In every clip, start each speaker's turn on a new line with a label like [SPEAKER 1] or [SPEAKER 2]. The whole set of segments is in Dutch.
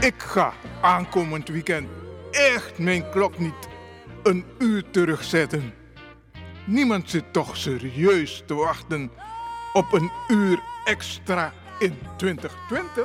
[SPEAKER 1] Ik ga aankomend weekend echt mijn klok niet een uur terugzetten. Niemand zit toch serieus te wachten op een uur extra in 2020?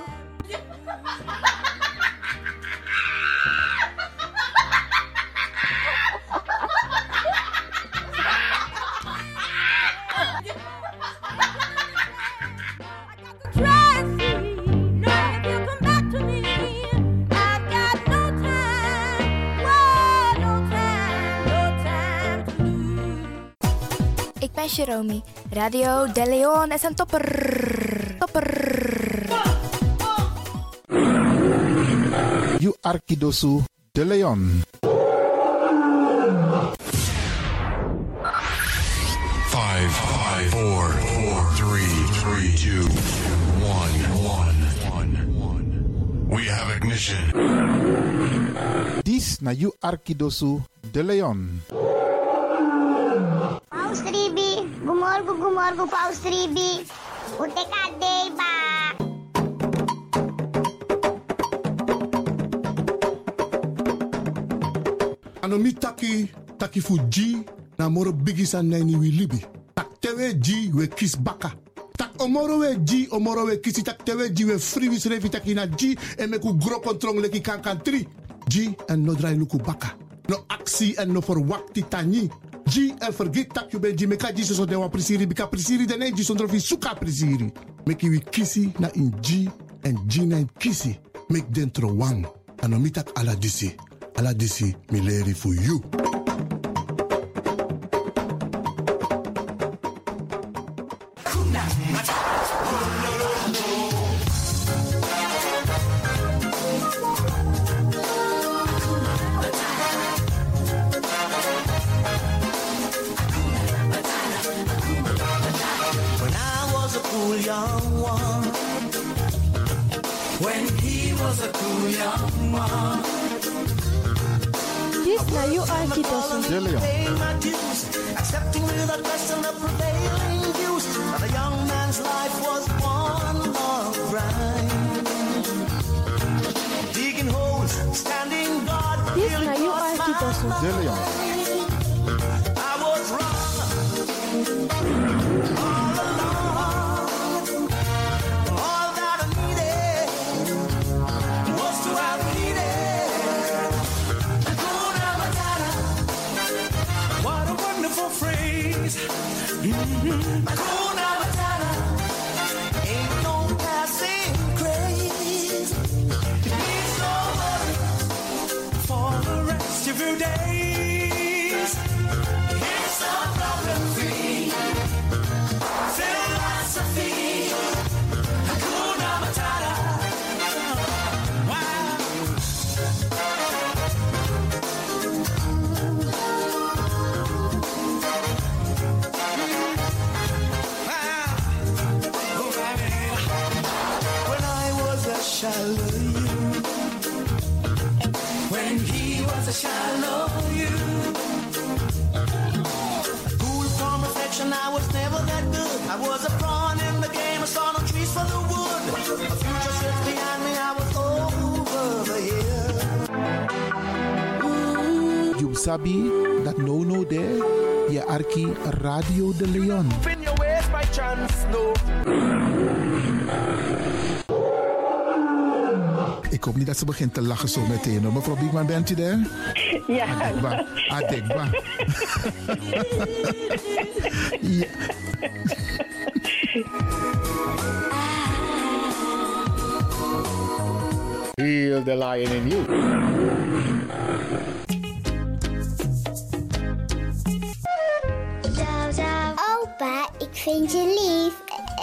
[SPEAKER 2] Ik ben Jerome. Radio De Leon is een topper. Topper.
[SPEAKER 3] You Arkidosu de Leon.
[SPEAKER 4] Five, five, four, four, three, three, two, one, one, one. We have ignition.
[SPEAKER 3] This na You Arkidosu de Leon.
[SPEAKER 5] Paus Ribi, gumorgo gumorgo Paus Ribi. Ute kadeba.
[SPEAKER 6] Anomi taki, taki fu G, na moro bigisan naini wi libi. Tak tewe G, we kis baka. Tak omoro we G, omoro we kisi, tak tewe G, we free wis revi taki na G, en meku gro kontrong leki kankan tri. G, en no drai luku baka. No aksi en no forwakti tani. G, en vergit tak you ben G, meka G so dewa prisiri, bika prisiri dene G, sondro fi suka prisiri. Meki wi kisi na in G, en G na in kisi. Mek dentro wang. Anomi tak ala disi. Ala disi, mi leri fu you.
[SPEAKER 7] When I was a cool young one. When he was a cool young one.
[SPEAKER 8] This na you Arkidosu.
[SPEAKER 3] De Leon.
[SPEAKER 7] Paying my dues, accepting without question the prevailing views. And a young man's life was one long grind. Digging holes, standing guard.
[SPEAKER 8] This
[SPEAKER 7] till it
[SPEAKER 8] na you
[SPEAKER 7] cost my
[SPEAKER 8] Arkidosu.
[SPEAKER 3] De Leon.
[SPEAKER 7] I was wrong all along. All that I needed was to have needed. Hakuna Matata. What a wonderful phrase. Mhm. Hakuna Matata. Ain't no passing craze. It means no worry for the rest of your days. It's a problem-free philosophy. Hakuna Matata. Wow. Wow. Oh, baby. When I was a Shallow you. When he was a shallow you. Cool from reflection, I was never that good. I was a pawn in the game, I saw no trees for the wood. A future sits behind me, I was over the hill.
[SPEAKER 3] You sabi that no no there. Je Arki Radio de Leon.
[SPEAKER 7] In your ways by chance, no.
[SPEAKER 3] Ik hoop niet dat ze begint te lachen zo meteen. hoor. Mevrouw Biekman, bent u daar?
[SPEAKER 9] Ja,
[SPEAKER 3] Adekba. Adekba. ja.
[SPEAKER 10] Heel the lion in you.
[SPEAKER 5] Opa, ik vind je lief.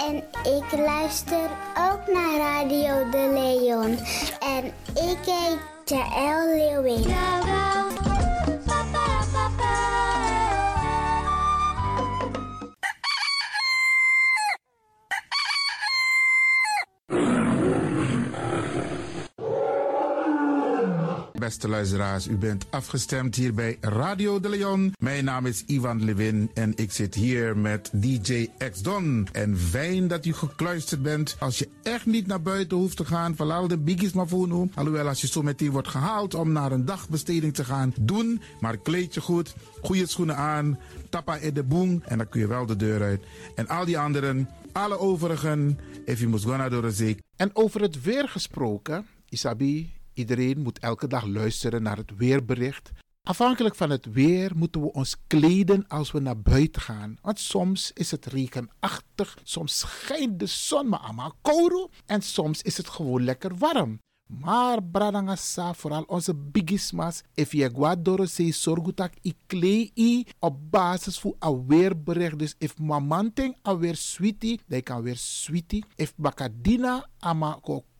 [SPEAKER 5] En ik luister ook naar Radio De Leon. En ik heet Jaël Leeuwin.
[SPEAKER 3] Ik ben beste luisteraars. U bent afgestemd hier bij Radio de Leon. Mijn naam is Ivan Levin en ik zit hier met DJ X Don. En fijn dat u gekluisterd bent. Als je echt niet naar buiten hoeft te gaan, verlaal de biggies maar voor nu. Alhoewel, als je zo meteen wordt gehaald om naar een dagbesteding te gaan, doen. Maar kleed je goed, goede schoenen aan, tappa in de boem en dan kun je wel de deur uit. En al die anderen, alle overigen, if you must go naar door de zee,
[SPEAKER 11] En over het weer gesproken, Isabi, iedereen moet elke dag luisteren naar het weerbericht. Afhankelijk van het weer moeten we ons kleden als we naar buiten gaan. Want soms is het regenachtig, soms schijnt de zon maar allemaal kouro en soms is het gewoon lekker warm. Maar bradangasa, vooral onze bigismas, if je guadoro se sorgutak i klei i op basis van een weerbericht. Dus if mamanting a weer sweetie, dan kan weer sweetie. If bakadina ama ko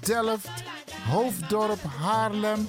[SPEAKER 3] Delft, Hoofddorp, Haarlem,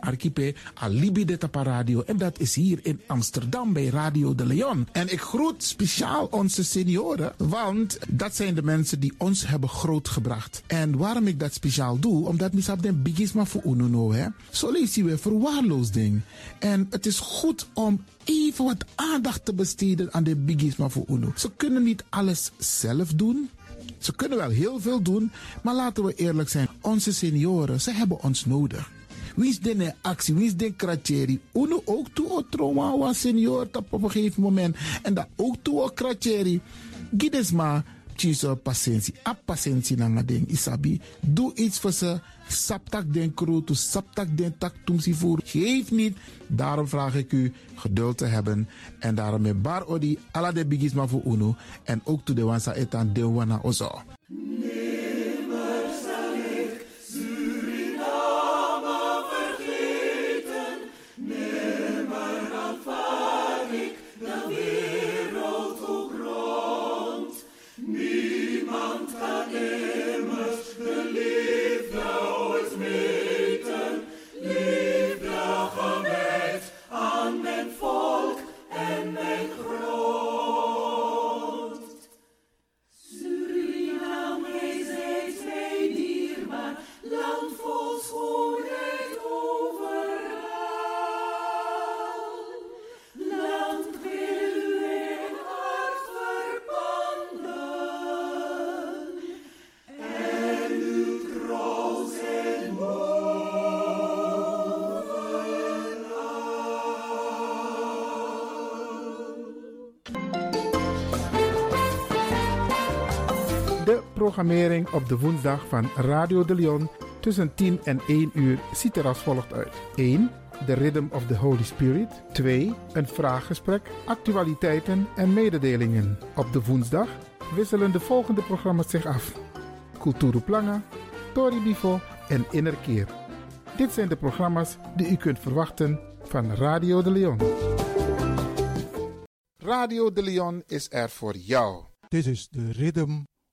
[SPEAKER 3] archipel Alibi de Tapa Radio. En dat is hier in Amsterdam bij Radio de Leon. En ik groet speciaal onze senioren, want dat zijn de mensen die ons hebben grootgebracht. En waarom ik dat speciaal doe, omdat misap den bigisma voor Ununo, hè. Zo lezen we verwaarloosding. En het is goed om even wat aandacht te besteden aan de bigisma voor Uno. Ze kunnen niet alles zelf doen. Ze kunnen wel heel veel doen, maar laten we eerlijk zijn. Onze senioren, ze hebben ons nodig. Wie is de actie? Wie is de kratjeri? Uno ook toe o trauma was senior tap op een gegeven moment. En dat ook toe o kratjeri. Gides maar, tjiso patiëntie. A patiëntie nanga ding isabi. Doe iets voor ze. Saptak den kroto, saptak den tak tumsi voor. Geef niet. Daarom vraag ik u geduld te hebben. En daarom met bar odi, ala de bigisma voor uno. En ook toe de wansa etan de wana ozo. De programmering op de woensdag van Radio de Leon tussen 10 en 1 uur ziet er als volgt uit. 1. The Rhythm of the Holy Spirit. 2. Een vraaggesprek, actualiteiten en mededelingen. Op de woensdag wisselen de volgende programma's zich af. Culturu Planga, Tori Bifo en Innerkeer. Dit zijn de programma's die u kunt verwachten van Radio de Leon. Radio de Leon is er voor jou.
[SPEAKER 12] This is the rhythm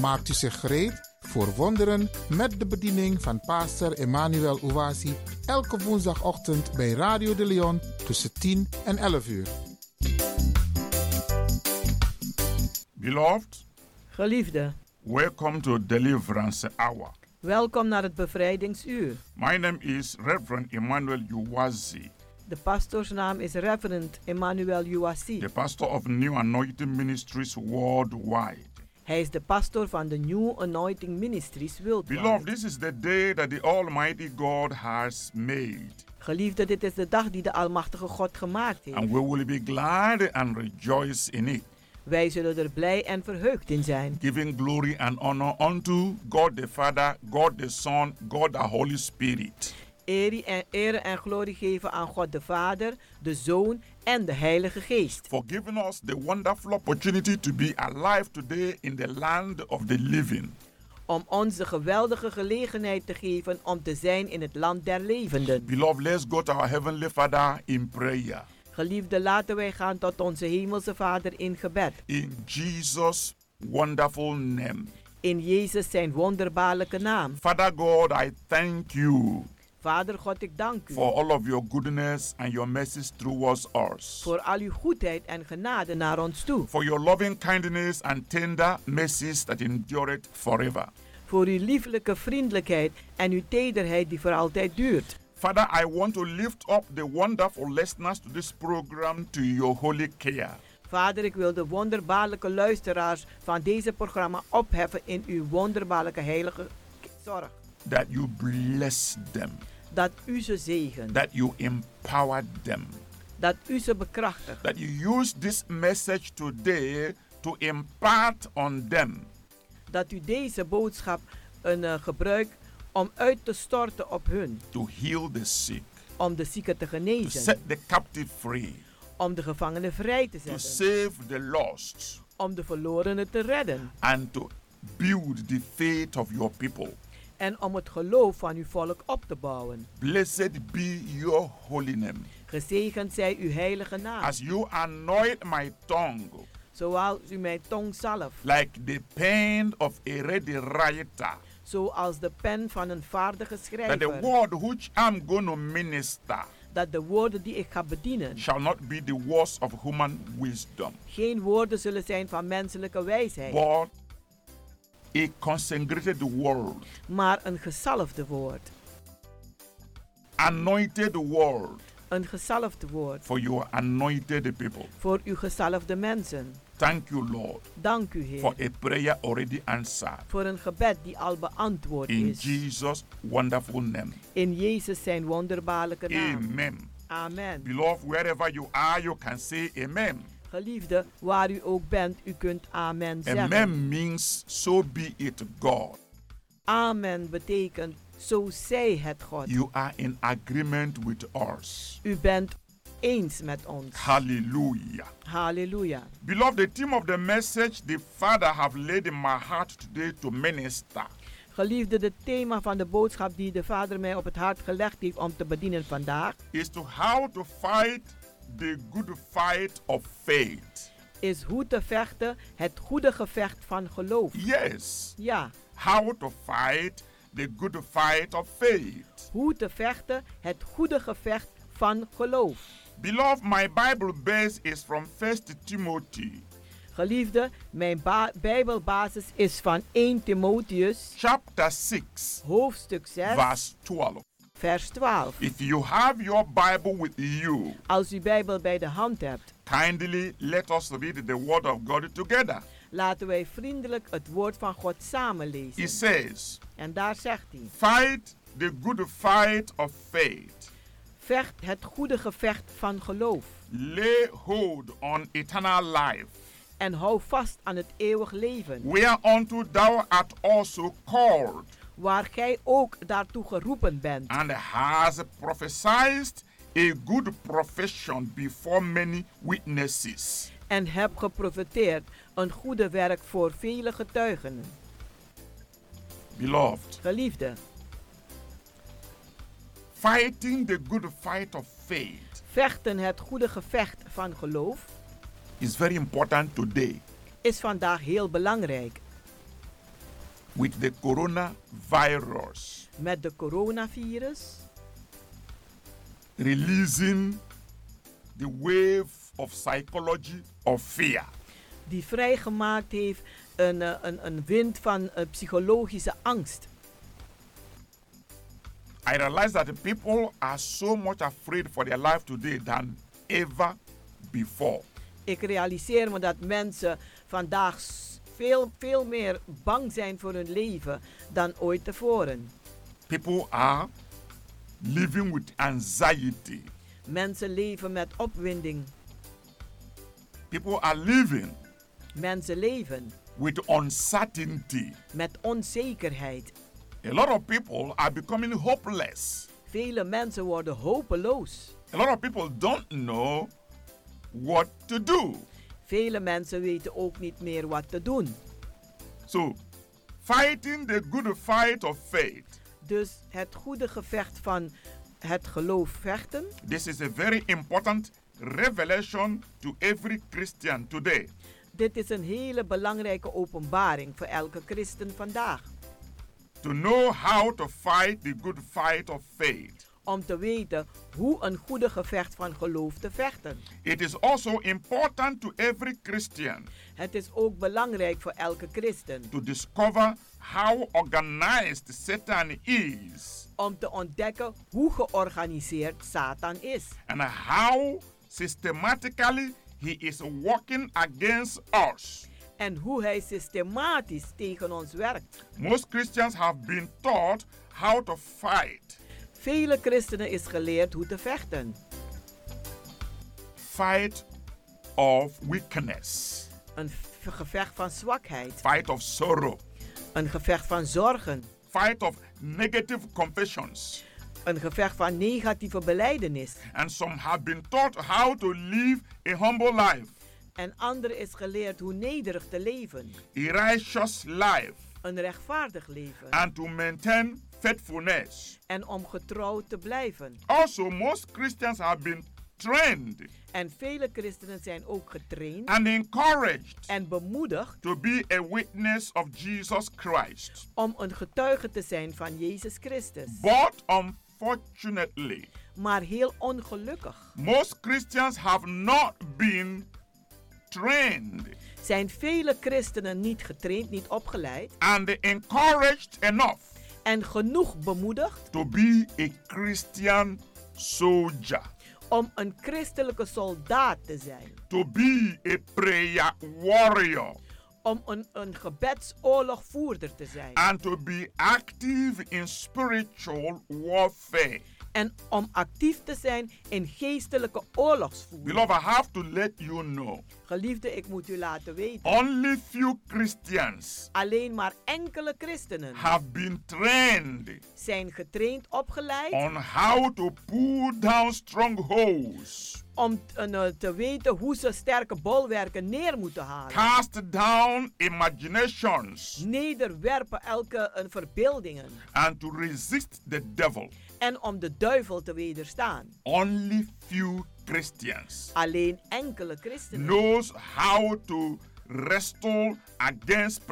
[SPEAKER 3] Maakt u zich gereed voor wonderen met de bediening van pastor Emmanuel Owasi elke woensdagochtend bij Radio de Leon tussen 10 en 11 uur.
[SPEAKER 1] Beloved,
[SPEAKER 13] Geliefde,
[SPEAKER 1] welcome to Deliverance Hour.
[SPEAKER 13] welkom naar het bevrijdingsuur.
[SPEAKER 1] My name is Reverend Emmanuel Uwazi,
[SPEAKER 13] De pastoorsnaam is Reverend Emmanuel Uwasi.
[SPEAKER 1] the pastor of New Anointing Ministries worldwide.
[SPEAKER 13] Hij is de pastoor van de New Anointing Ministries
[SPEAKER 1] Beloved,
[SPEAKER 13] Worldwide.
[SPEAKER 1] this is the day that the Almighty God has made,
[SPEAKER 13] Geliefde, dit is de dag die de Almachtige God gemaakt heeft.
[SPEAKER 1] and we will be glad and rejoice in it,
[SPEAKER 13] Wij zullen er blij en verheugd in zijn.
[SPEAKER 1] giving glory and honor unto God the Father, God the Son, God the Holy Spirit.
[SPEAKER 13] Eer en, ere en glorie geven aan God de Vader, de Zoon en de Heilige Geest.
[SPEAKER 1] For giving us the wonderful opportunity to be alive today in the land of the living.
[SPEAKER 13] Om ons de geweldige gelegenheid te geven om te zijn in het land der levenden.
[SPEAKER 1] Beloved, let's go to our Heavenly Father in prayer.
[SPEAKER 13] Geliefde, laten wij gaan tot onze Hemelse Vader in gebed.
[SPEAKER 1] in Jesus' wonderful name.
[SPEAKER 13] In Jezus zijn wonderbaarlijke naam.
[SPEAKER 1] Father God, I thank you
[SPEAKER 13] Vader God, ik dank u
[SPEAKER 1] for all of your goodness and your mercies towards us,
[SPEAKER 13] voor al uw goedheid en genade naar ons toe.
[SPEAKER 1] for your loving kindness and tender mercies that endureth forever.
[SPEAKER 13] Voor uw lieflijke vriendelijkheid en uw tederheid die voor altijd duurt.
[SPEAKER 1] Father, I want to lift up the wonderful listeners to this program to your holy care.
[SPEAKER 13] Vader, ik wil de wonderbaarlijke luisteraars van deze programma opheffen in uw wonderbaarlijke heilige zorg.
[SPEAKER 1] That you bless them,
[SPEAKER 13] Dat u ze zegent,
[SPEAKER 1] that you empower them,
[SPEAKER 13] dat u ze bekrachtigt,
[SPEAKER 1] that you use this message today to impart on them
[SPEAKER 13] dat u deze boodschap een eh, gebruikt om uit te storten op hun,
[SPEAKER 1] to heal the sick.
[SPEAKER 13] om de zieken te
[SPEAKER 1] to
[SPEAKER 13] genezen,
[SPEAKER 1] set the captive free,
[SPEAKER 13] om de gevangenen vrij te
[SPEAKER 1] to
[SPEAKER 13] zetten.
[SPEAKER 1] save the lost,
[SPEAKER 13] om de verlorenen te redden
[SPEAKER 1] and to build the faith of your people.
[SPEAKER 13] en om het geloof van uw volk op te bouwen.
[SPEAKER 1] Blessed be your holy name.
[SPEAKER 13] Gezegend zij uw heilige naam,
[SPEAKER 1] As you anoint my tongue
[SPEAKER 13] zoals u mijn tong zalf,
[SPEAKER 1] like the pen of a ready writer,
[SPEAKER 13] zoals de pen van een vaardige
[SPEAKER 1] that the
[SPEAKER 13] schrijver,
[SPEAKER 1] word which I'm going to minister
[SPEAKER 13] dat de woorden die ik ga bedienen,
[SPEAKER 1] shall not be the words of human wisdom,
[SPEAKER 13] geen woorden zullen zijn van menselijke wijsheid,
[SPEAKER 1] but a consecrated word,
[SPEAKER 13] maar een gezalfde woord,
[SPEAKER 1] anointed word
[SPEAKER 13] een gezalfde woord
[SPEAKER 1] for your anointed people.
[SPEAKER 13] voor uw gezalfde mensen.
[SPEAKER 1] Thank you, Lord.
[SPEAKER 13] Dank u
[SPEAKER 1] for
[SPEAKER 13] Heer
[SPEAKER 1] a prayer already answered.
[SPEAKER 13] voor een gebed die al beantwoord
[SPEAKER 1] In
[SPEAKER 13] is.
[SPEAKER 1] Jesus' wonderful name.
[SPEAKER 13] In Jezus zijn wonderbaarlijke naam.
[SPEAKER 1] Amen.
[SPEAKER 13] Amen.
[SPEAKER 1] Beloved, wherever you are, you can say amen.
[SPEAKER 13] Geliefde, waar u ook bent, u kunt amen zeggen.
[SPEAKER 1] Amen means so be it, God.
[SPEAKER 13] Amen betekent, zo zij het God.
[SPEAKER 1] You are in agreement with us.
[SPEAKER 13] U bent eens met ons.
[SPEAKER 1] Hallelujah.
[SPEAKER 13] Halleluja.
[SPEAKER 1] Beloved, the theme of the message the Father have laid in my heart today to minister
[SPEAKER 13] Geliefde, het thema van de boodschap die de Vader mij op het hart gelegd heeft om te bedienen vandaag,
[SPEAKER 1] is to how to fight the good fight of faith.
[SPEAKER 13] is hoe te vechten het goede gevecht van geloof.
[SPEAKER 1] Yes,
[SPEAKER 13] Ja,
[SPEAKER 1] how to fight the good fight of faith.
[SPEAKER 13] hoe te vechten het goede gevecht van geloof.
[SPEAKER 1] Beloved, my Bible base is from 1 Timothy
[SPEAKER 13] Geliefde, mijn ba- Bijbelbasis is van 1 Timotheus,
[SPEAKER 1] chapter 6,
[SPEAKER 13] hoofdstuk 6,
[SPEAKER 1] verse 12.
[SPEAKER 13] vers 12.
[SPEAKER 1] If you have your Bible with you,
[SPEAKER 13] Als u Bijbel bij de hand hebt,
[SPEAKER 1] kindly let us read the Word of God together.
[SPEAKER 13] laten wij vriendelijk het woord van God samen
[SPEAKER 1] He
[SPEAKER 13] lezen.
[SPEAKER 1] says,
[SPEAKER 13] En daar zegt hij:
[SPEAKER 1] Fight the good fight of faith.
[SPEAKER 13] Vecht het goede gevecht van geloof
[SPEAKER 1] Lay hold on eternal life,
[SPEAKER 13] en hou vast aan het eeuwig leven,
[SPEAKER 1] whereunto thou art also called,
[SPEAKER 13] waar gij ook daartoe geroepen bent
[SPEAKER 1] and has prophesied a good profession before many witnesses.
[SPEAKER 13] en hebt geprofiteerd een goede werk voor vele getuigen.
[SPEAKER 1] Beloved,
[SPEAKER 13] Geliefde,
[SPEAKER 1] fighting the good fight of faith
[SPEAKER 13] vechten het goede gevecht van geloof
[SPEAKER 1] is very important today
[SPEAKER 13] is vandaag heel belangrijk
[SPEAKER 1] with the coronavirus
[SPEAKER 13] met de coronavirus,
[SPEAKER 1] releasing the wave of psychology of fear.
[SPEAKER 13] die vrijgemaakt heeft een, eh, een, een wind van eh, psychologische angst.
[SPEAKER 1] I realize that the people are so much afraid for their life today than ever before.
[SPEAKER 13] Ik realiseer me dat mensen vandaag s- veel, veel meer bang zijn voor hun leven dan ooit tevoren.
[SPEAKER 1] People are living with anxiety.
[SPEAKER 13] Mensen leven met opwinding.
[SPEAKER 1] People are living
[SPEAKER 13] Mensen leven
[SPEAKER 1] with uncertainty.
[SPEAKER 13] met onzekerheid.
[SPEAKER 1] A lot of people are becoming hopeless.
[SPEAKER 13] Vele mensen worden hopeloos.
[SPEAKER 1] A lot of people don't know what to do.
[SPEAKER 13] Vele mensen weten ook niet meer wat te doen.
[SPEAKER 1] So, fighting the good fight of faith,
[SPEAKER 13] Dus het goede gevecht van het geloof vechten
[SPEAKER 1] this is a very important revelation to every Christian today.
[SPEAKER 13] Dit is een hele belangrijke openbaring voor elke christen vandaag.
[SPEAKER 1] To know how to fight the good fight of faith,
[SPEAKER 13] Om te weten hoe een goede gevecht van geloof te vechten.
[SPEAKER 1] it is also important to every Christian
[SPEAKER 13] Het is ook belangrijk voor elke christen
[SPEAKER 1] to discover how organized Satan is
[SPEAKER 13] om te ontdekken hoe georganiseerd Satan is.
[SPEAKER 1] and how systematically he is working against us.
[SPEAKER 13] En hoe hij systematisch tegen ons werkt.
[SPEAKER 1] Most Christians have been taught how to fight.
[SPEAKER 13] Vele christenen is geleerd hoe te vechten.
[SPEAKER 1] Fight of weakness,
[SPEAKER 13] Een v- gevecht van zwakheid.
[SPEAKER 1] fight of sorrow,
[SPEAKER 13] Een gevecht van zorgen.
[SPEAKER 1] fight of negative confessions.
[SPEAKER 13] Een gevecht van negatieve beleidenis.
[SPEAKER 1] And some have been taught how to live a humble life,
[SPEAKER 13] En anderen is geleerd hoe nederig te leven.
[SPEAKER 1] a righteous life,
[SPEAKER 13] een rechtvaardig leven
[SPEAKER 1] and to maintain faithfulness.
[SPEAKER 13] en om getrouw te blijven.
[SPEAKER 1] Also, most Christians have been trained
[SPEAKER 13] En vele christenen zijn ook getraind
[SPEAKER 1] and encouraged
[SPEAKER 13] en bemoedigd
[SPEAKER 1] to be a witness of Jesus Christ.
[SPEAKER 13] om een getuige te zijn van Jezus Christus.
[SPEAKER 1] But unfortunately,
[SPEAKER 13] Maar heel ongelukkig
[SPEAKER 1] most Christians have not been trained
[SPEAKER 13] zijn vele christenen niet getraind, niet opgeleid
[SPEAKER 1] and encouraged enough
[SPEAKER 13] en genoeg bemoedigd
[SPEAKER 1] to be a Christian soldier,
[SPEAKER 13] om een christelijke soldaat te zijn.
[SPEAKER 1] to be a prayer warrior,
[SPEAKER 13] Om een, een gebedsoorlogvoerder te zijn.
[SPEAKER 1] and to be active in spiritual warfare.
[SPEAKER 13] En om actief te zijn in geestelijke oorlogsvoering.
[SPEAKER 1] Beloved, I have to let you know
[SPEAKER 13] Geliefde, ik moet u laten weten.
[SPEAKER 1] only few Christians
[SPEAKER 13] Alleen maar enkele christenen
[SPEAKER 1] have been trained
[SPEAKER 13] zijn getraind, opgeleid
[SPEAKER 1] on how to pull down strongholds,
[SPEAKER 13] om t- een, eh, te weten hoe ze sterke bolwerken neer moeten halen.
[SPEAKER 1] cast down imaginations,
[SPEAKER 13] Nederwerpen elke eh, verbeeldingen
[SPEAKER 1] and to resist the devil.
[SPEAKER 13] en om de duivel te wederstaan.
[SPEAKER 1] Only few Christians
[SPEAKER 13] Alleen enkele christenen
[SPEAKER 1] knows how to wrestle against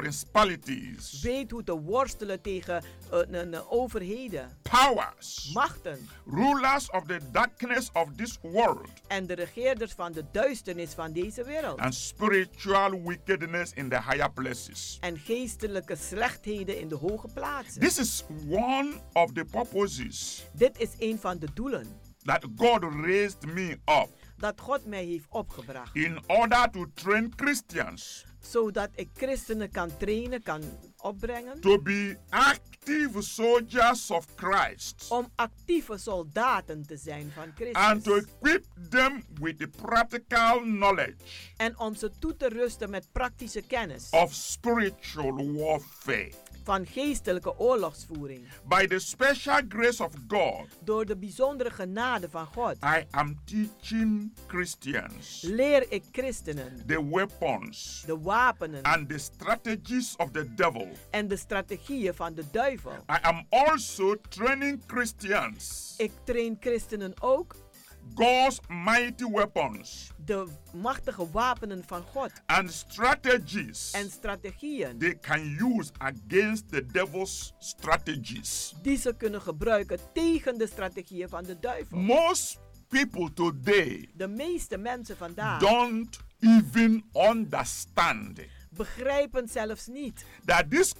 [SPEAKER 1] principalities,
[SPEAKER 13] Weet hoe te worstelen tegen eh, eh, eh, overheden,
[SPEAKER 1] powers,
[SPEAKER 13] machten
[SPEAKER 1] rulers of the darkness of this world,
[SPEAKER 13] en de regeerders van de duisternis van deze wereld.
[SPEAKER 1] and spiritual wickedness in the higher places.
[SPEAKER 13] En geestelijke slechtheden in de hoge plaatsen.
[SPEAKER 1] This is one of the purposes
[SPEAKER 13] Dit is een van de doelen
[SPEAKER 1] that God raised me up
[SPEAKER 13] dat God mij heeft opgebracht.
[SPEAKER 1] in order to train Christians
[SPEAKER 13] Zodat ik christenen kan trainen, kan opbrengen.
[SPEAKER 1] to be active soldiers of Christ
[SPEAKER 13] Om actieve soldaten te zijn van
[SPEAKER 1] and to
[SPEAKER 13] Christus.
[SPEAKER 1] equip them with the practical knowledge
[SPEAKER 13] En om ze toe te rusten met praktische kennis
[SPEAKER 1] of spiritual warfare
[SPEAKER 13] van geestelijke oorlogsvoering.
[SPEAKER 1] by the special grace of God.
[SPEAKER 13] Door de bijzondere genade van God
[SPEAKER 1] I am teaching Christians
[SPEAKER 13] leer ik christenen
[SPEAKER 1] the weapons
[SPEAKER 13] de wapenen
[SPEAKER 1] and the strategies of the devil.
[SPEAKER 13] en de strategieën van de duivel.
[SPEAKER 1] I am also training Christians
[SPEAKER 13] Ik train christenen ook
[SPEAKER 1] God's mighty weapons
[SPEAKER 13] de machtige wapenen van God
[SPEAKER 1] and strategies
[SPEAKER 13] en strategieën
[SPEAKER 1] they can use against the devil's strategies.
[SPEAKER 13] die ze kunnen gebruiken tegen de strategieën van de duivel.
[SPEAKER 1] Most people today
[SPEAKER 13] De meeste mensen vandaag
[SPEAKER 1] don't even understand
[SPEAKER 13] begrijpen zelfs niet
[SPEAKER 1] that this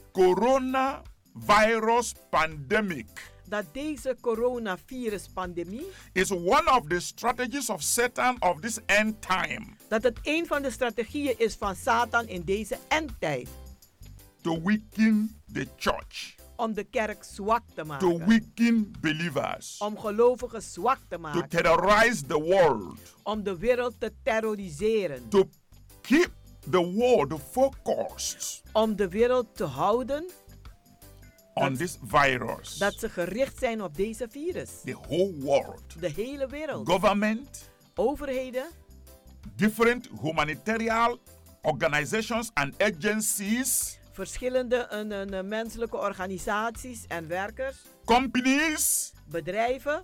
[SPEAKER 1] coronavirus pandemic
[SPEAKER 13] dat deze coronavirus-pandemie
[SPEAKER 1] is one of the strategies of Satan of this end time
[SPEAKER 13] dat het een van de strategieën is van Satan in deze endtijd
[SPEAKER 1] to weaken the church,
[SPEAKER 13] om de kerk zwak te
[SPEAKER 1] to
[SPEAKER 13] maken,
[SPEAKER 1] weaken believers,
[SPEAKER 13] om gelovigen zwak te
[SPEAKER 1] to
[SPEAKER 13] maken,
[SPEAKER 1] terrorize the world,
[SPEAKER 13] om de wereld te terroriseren,
[SPEAKER 1] to keep the world focused
[SPEAKER 13] om de wereld te houden
[SPEAKER 1] on
[SPEAKER 13] Dat-
[SPEAKER 1] this virus.
[SPEAKER 13] dat ze gericht zijn op deze virus.
[SPEAKER 1] the whole world,
[SPEAKER 13] De hele wereld,
[SPEAKER 1] government,
[SPEAKER 13] overheden,
[SPEAKER 1] different humanitarian organizations and agencies,
[SPEAKER 13] verschillende eh, eh, eh, menselijke organisaties en werkers,
[SPEAKER 1] companies,
[SPEAKER 13] bedrijven,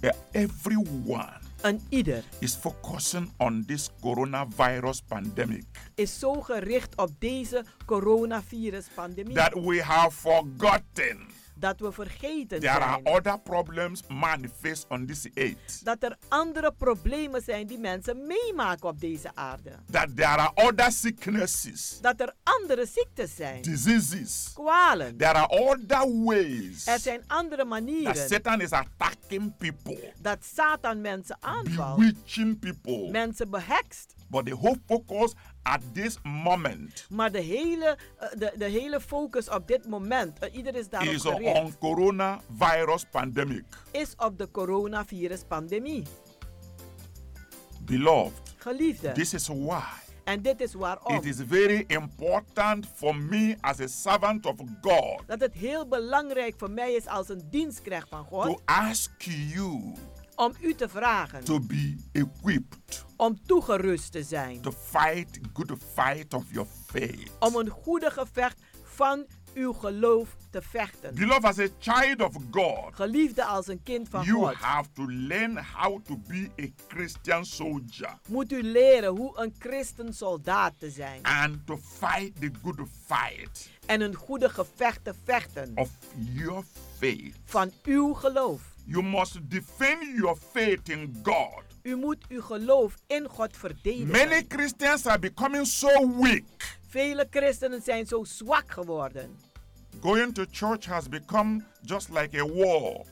[SPEAKER 1] eh, everyone
[SPEAKER 13] en ieder
[SPEAKER 1] is focusing on this coronavirus pandemic
[SPEAKER 13] is zo gericht op deze coronavirus-pandemie
[SPEAKER 1] that we have forgotten.
[SPEAKER 13] dat we vergeten
[SPEAKER 1] There are
[SPEAKER 13] zijn
[SPEAKER 1] other problems man face on this earth.
[SPEAKER 13] dat er andere problemen zijn die mensen meemaken op deze aarde.
[SPEAKER 1] That there are other sicknesses,
[SPEAKER 13] Dat er andere ziektes zijn,
[SPEAKER 1] diseases.
[SPEAKER 13] kwalen.
[SPEAKER 1] There are other ways
[SPEAKER 13] Er zijn andere
[SPEAKER 1] that
[SPEAKER 13] manieren
[SPEAKER 1] Satan is attacking people,
[SPEAKER 13] dat Satan mensen aanvalt,
[SPEAKER 1] bewitching people.
[SPEAKER 13] mensen behekst.
[SPEAKER 1] But the whole focus at this moment
[SPEAKER 13] Maar de hele, eh, de, de hele focus op dit moment, eh, ieder is daarop
[SPEAKER 1] is on
[SPEAKER 13] gericht,
[SPEAKER 1] coronavirus pandemic.
[SPEAKER 13] is op de coronavirus-pandemie.
[SPEAKER 1] Beloved,
[SPEAKER 13] Geliefde,
[SPEAKER 1] this is why
[SPEAKER 13] en dit is waarom.
[SPEAKER 1] it is very important for me as a servant of God
[SPEAKER 13] Dat het heel belangrijk voor mij is als een dienstknecht van
[SPEAKER 1] to
[SPEAKER 13] God
[SPEAKER 1] ask you
[SPEAKER 13] om u te vragen
[SPEAKER 1] to be equipped
[SPEAKER 13] om toegerust te zijn.
[SPEAKER 1] to fight good fight of your faith.
[SPEAKER 13] om een goede gevecht van uw geloof te vechten.
[SPEAKER 1] Beloved, as a child of God,
[SPEAKER 13] Geliefde als een kind van
[SPEAKER 1] you
[SPEAKER 13] God,
[SPEAKER 1] have to learn how to be a Christian soldier
[SPEAKER 13] moet u leren hoe een christen soldaat te zijn
[SPEAKER 1] and to fight the good fight
[SPEAKER 13] en een goede gevecht te vechten
[SPEAKER 1] of your faith.
[SPEAKER 13] van uw geloof.
[SPEAKER 1] You must defend your faith in God.
[SPEAKER 13] U moet uw geloof in God
[SPEAKER 1] Many
[SPEAKER 13] verdedigen.
[SPEAKER 1] Christians are becoming so weak.
[SPEAKER 13] Vele christenen zijn zo zwak geworden.
[SPEAKER 1] Going to church has become just like a war.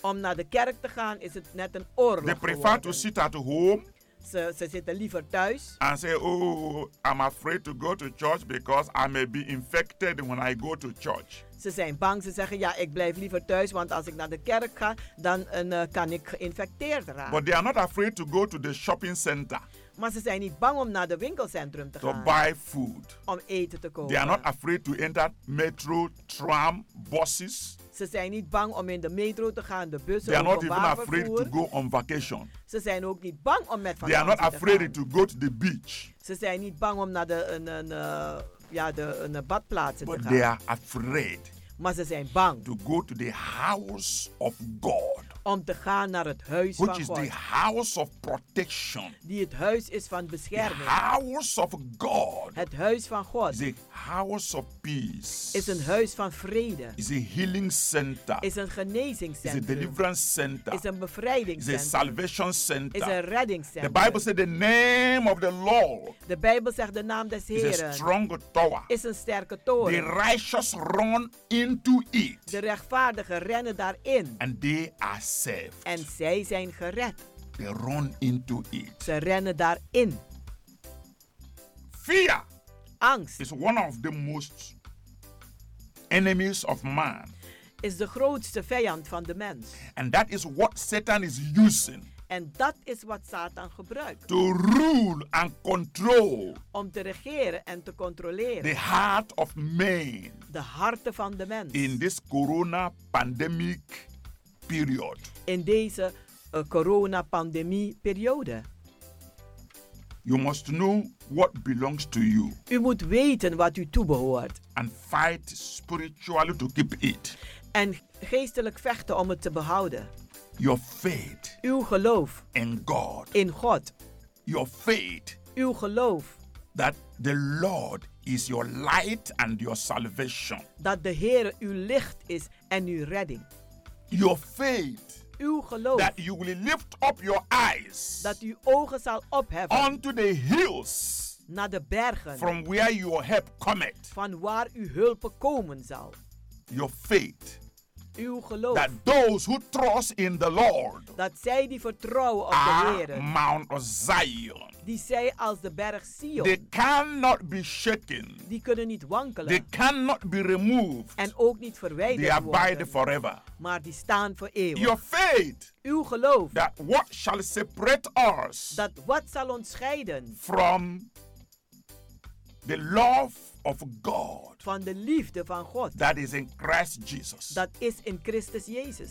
[SPEAKER 13] Om naar de kerk te gaan is het net een
[SPEAKER 1] They
[SPEAKER 13] oorlog
[SPEAKER 1] prefer to
[SPEAKER 13] geworden.
[SPEAKER 1] sit at home
[SPEAKER 13] Ze, ze zitten liever thuis
[SPEAKER 1] and say, Oh, I'm afraid to go to church because I may be infected when I go to church.
[SPEAKER 13] Ze zijn bang, ze zeggen ja, ik blijf liever thuis, want als ik naar de kerk ga, dan eh, kan ik geïnfecteerd raken.
[SPEAKER 1] But they are not afraid to go to the shopping center
[SPEAKER 13] Maar ze zijn niet bang om naar de winkelcentrum te
[SPEAKER 1] to
[SPEAKER 13] gaan
[SPEAKER 1] buy food.
[SPEAKER 13] om eten te kopen.
[SPEAKER 1] They are not afraid to enter metro, tram, buses.
[SPEAKER 13] Ze zijn niet bang om in de metro te gaan, de
[SPEAKER 1] They
[SPEAKER 13] bussen,
[SPEAKER 1] are not even
[SPEAKER 13] openbaar
[SPEAKER 1] afraid to go
[SPEAKER 13] vervoer.
[SPEAKER 1] on vacation.
[SPEAKER 13] Ze zijn ook niet bang om met
[SPEAKER 1] They are
[SPEAKER 13] vakantie
[SPEAKER 1] not
[SPEAKER 13] te gaan.
[SPEAKER 1] afraid to go to the beach.
[SPEAKER 13] Ze zijn niet bang om naar de, een, een, eh, ja, de een, eh, badplaatsen te
[SPEAKER 1] But
[SPEAKER 13] gaan.
[SPEAKER 1] they are afraid
[SPEAKER 13] Maar ze zijn bang
[SPEAKER 1] to go to the house of God
[SPEAKER 13] om te gaan naar het huis
[SPEAKER 1] which
[SPEAKER 13] van
[SPEAKER 1] is
[SPEAKER 13] God.
[SPEAKER 1] the house of protection.
[SPEAKER 13] Die het huis is van bescherming.
[SPEAKER 1] House of God
[SPEAKER 13] Het huis van God
[SPEAKER 1] is a house of peace.
[SPEAKER 13] is een huis van vrede.
[SPEAKER 1] Is a healing center.
[SPEAKER 13] Is een
[SPEAKER 1] Is a
[SPEAKER 13] genezingscentrum.
[SPEAKER 1] deliverance center.
[SPEAKER 13] Is een
[SPEAKER 1] Is a
[SPEAKER 13] bevrijdingscentrum.
[SPEAKER 1] salvation
[SPEAKER 13] Is een
[SPEAKER 1] center. The Bible
[SPEAKER 13] reddingscentrum.
[SPEAKER 1] said the name of the Lord
[SPEAKER 13] De Bijbel zegt de naam des
[SPEAKER 1] is a
[SPEAKER 13] Heren
[SPEAKER 1] strong tower.
[SPEAKER 13] is een sterke
[SPEAKER 1] The
[SPEAKER 13] toren.
[SPEAKER 1] righteous run into
[SPEAKER 13] De
[SPEAKER 1] it
[SPEAKER 13] rechtvaardigen rennen daarin.
[SPEAKER 1] and they are saved.
[SPEAKER 13] En zij zijn gered.
[SPEAKER 1] They run into it.
[SPEAKER 13] Ze rennen daarin.
[SPEAKER 1] Fear
[SPEAKER 13] Angst
[SPEAKER 1] is one of the most enemies of man.
[SPEAKER 13] is de grootste vijand van de mens.
[SPEAKER 1] And that is what Satan is using
[SPEAKER 13] En dat is wat Satan gebruikt
[SPEAKER 1] to rule and control
[SPEAKER 13] om te regeren en te
[SPEAKER 1] the
[SPEAKER 13] controleren.
[SPEAKER 1] heart of man
[SPEAKER 13] De harten van de mens
[SPEAKER 1] in this corona pandemic period.
[SPEAKER 13] in deze eh, coronapandemie-periode.
[SPEAKER 1] You must know what belongs to you
[SPEAKER 13] U moet weten wat u toebehoort
[SPEAKER 1] and fight spiritually to keep it.
[SPEAKER 13] en geestelijk vechten om het te behouden.
[SPEAKER 1] Your faith
[SPEAKER 13] Uw geloof
[SPEAKER 1] in God,
[SPEAKER 13] in God,
[SPEAKER 1] your faith
[SPEAKER 13] uw geloof
[SPEAKER 1] that the Lord is your light and your salvation,
[SPEAKER 13] dat de Heer uw licht is en uw redding.
[SPEAKER 1] your faith
[SPEAKER 13] Uw geloof
[SPEAKER 1] that you will lift up your eyes
[SPEAKER 13] dat uw ogen zal opheffen
[SPEAKER 1] unto the hills
[SPEAKER 13] naar de bergen
[SPEAKER 1] from where your help cometh.
[SPEAKER 13] van waar uw hulp komen zal.
[SPEAKER 1] Your faith
[SPEAKER 13] Uw geloof
[SPEAKER 1] that those who trust in the Lord
[SPEAKER 13] dat zij die vertrouwen op de
[SPEAKER 1] are
[SPEAKER 13] Heer,
[SPEAKER 1] Mount Zion.
[SPEAKER 13] die zij als de berg
[SPEAKER 1] They
[SPEAKER 13] Sion,
[SPEAKER 1] cannot be shaken.
[SPEAKER 13] die kunnen niet
[SPEAKER 1] They
[SPEAKER 13] wankelen
[SPEAKER 1] cannot be removed.
[SPEAKER 13] en ook niet
[SPEAKER 1] They
[SPEAKER 13] verwijderd
[SPEAKER 1] abide
[SPEAKER 13] worden,
[SPEAKER 1] forever.
[SPEAKER 13] maar die staan voor eeuwig.
[SPEAKER 1] Your faith
[SPEAKER 13] Uw geloof
[SPEAKER 1] that what shall separate us
[SPEAKER 13] dat wat zal ons scheiden
[SPEAKER 1] from the love of God
[SPEAKER 13] van de liefde van God,
[SPEAKER 1] that is in Christ Jesus.
[SPEAKER 13] dat is in Christus Jezus.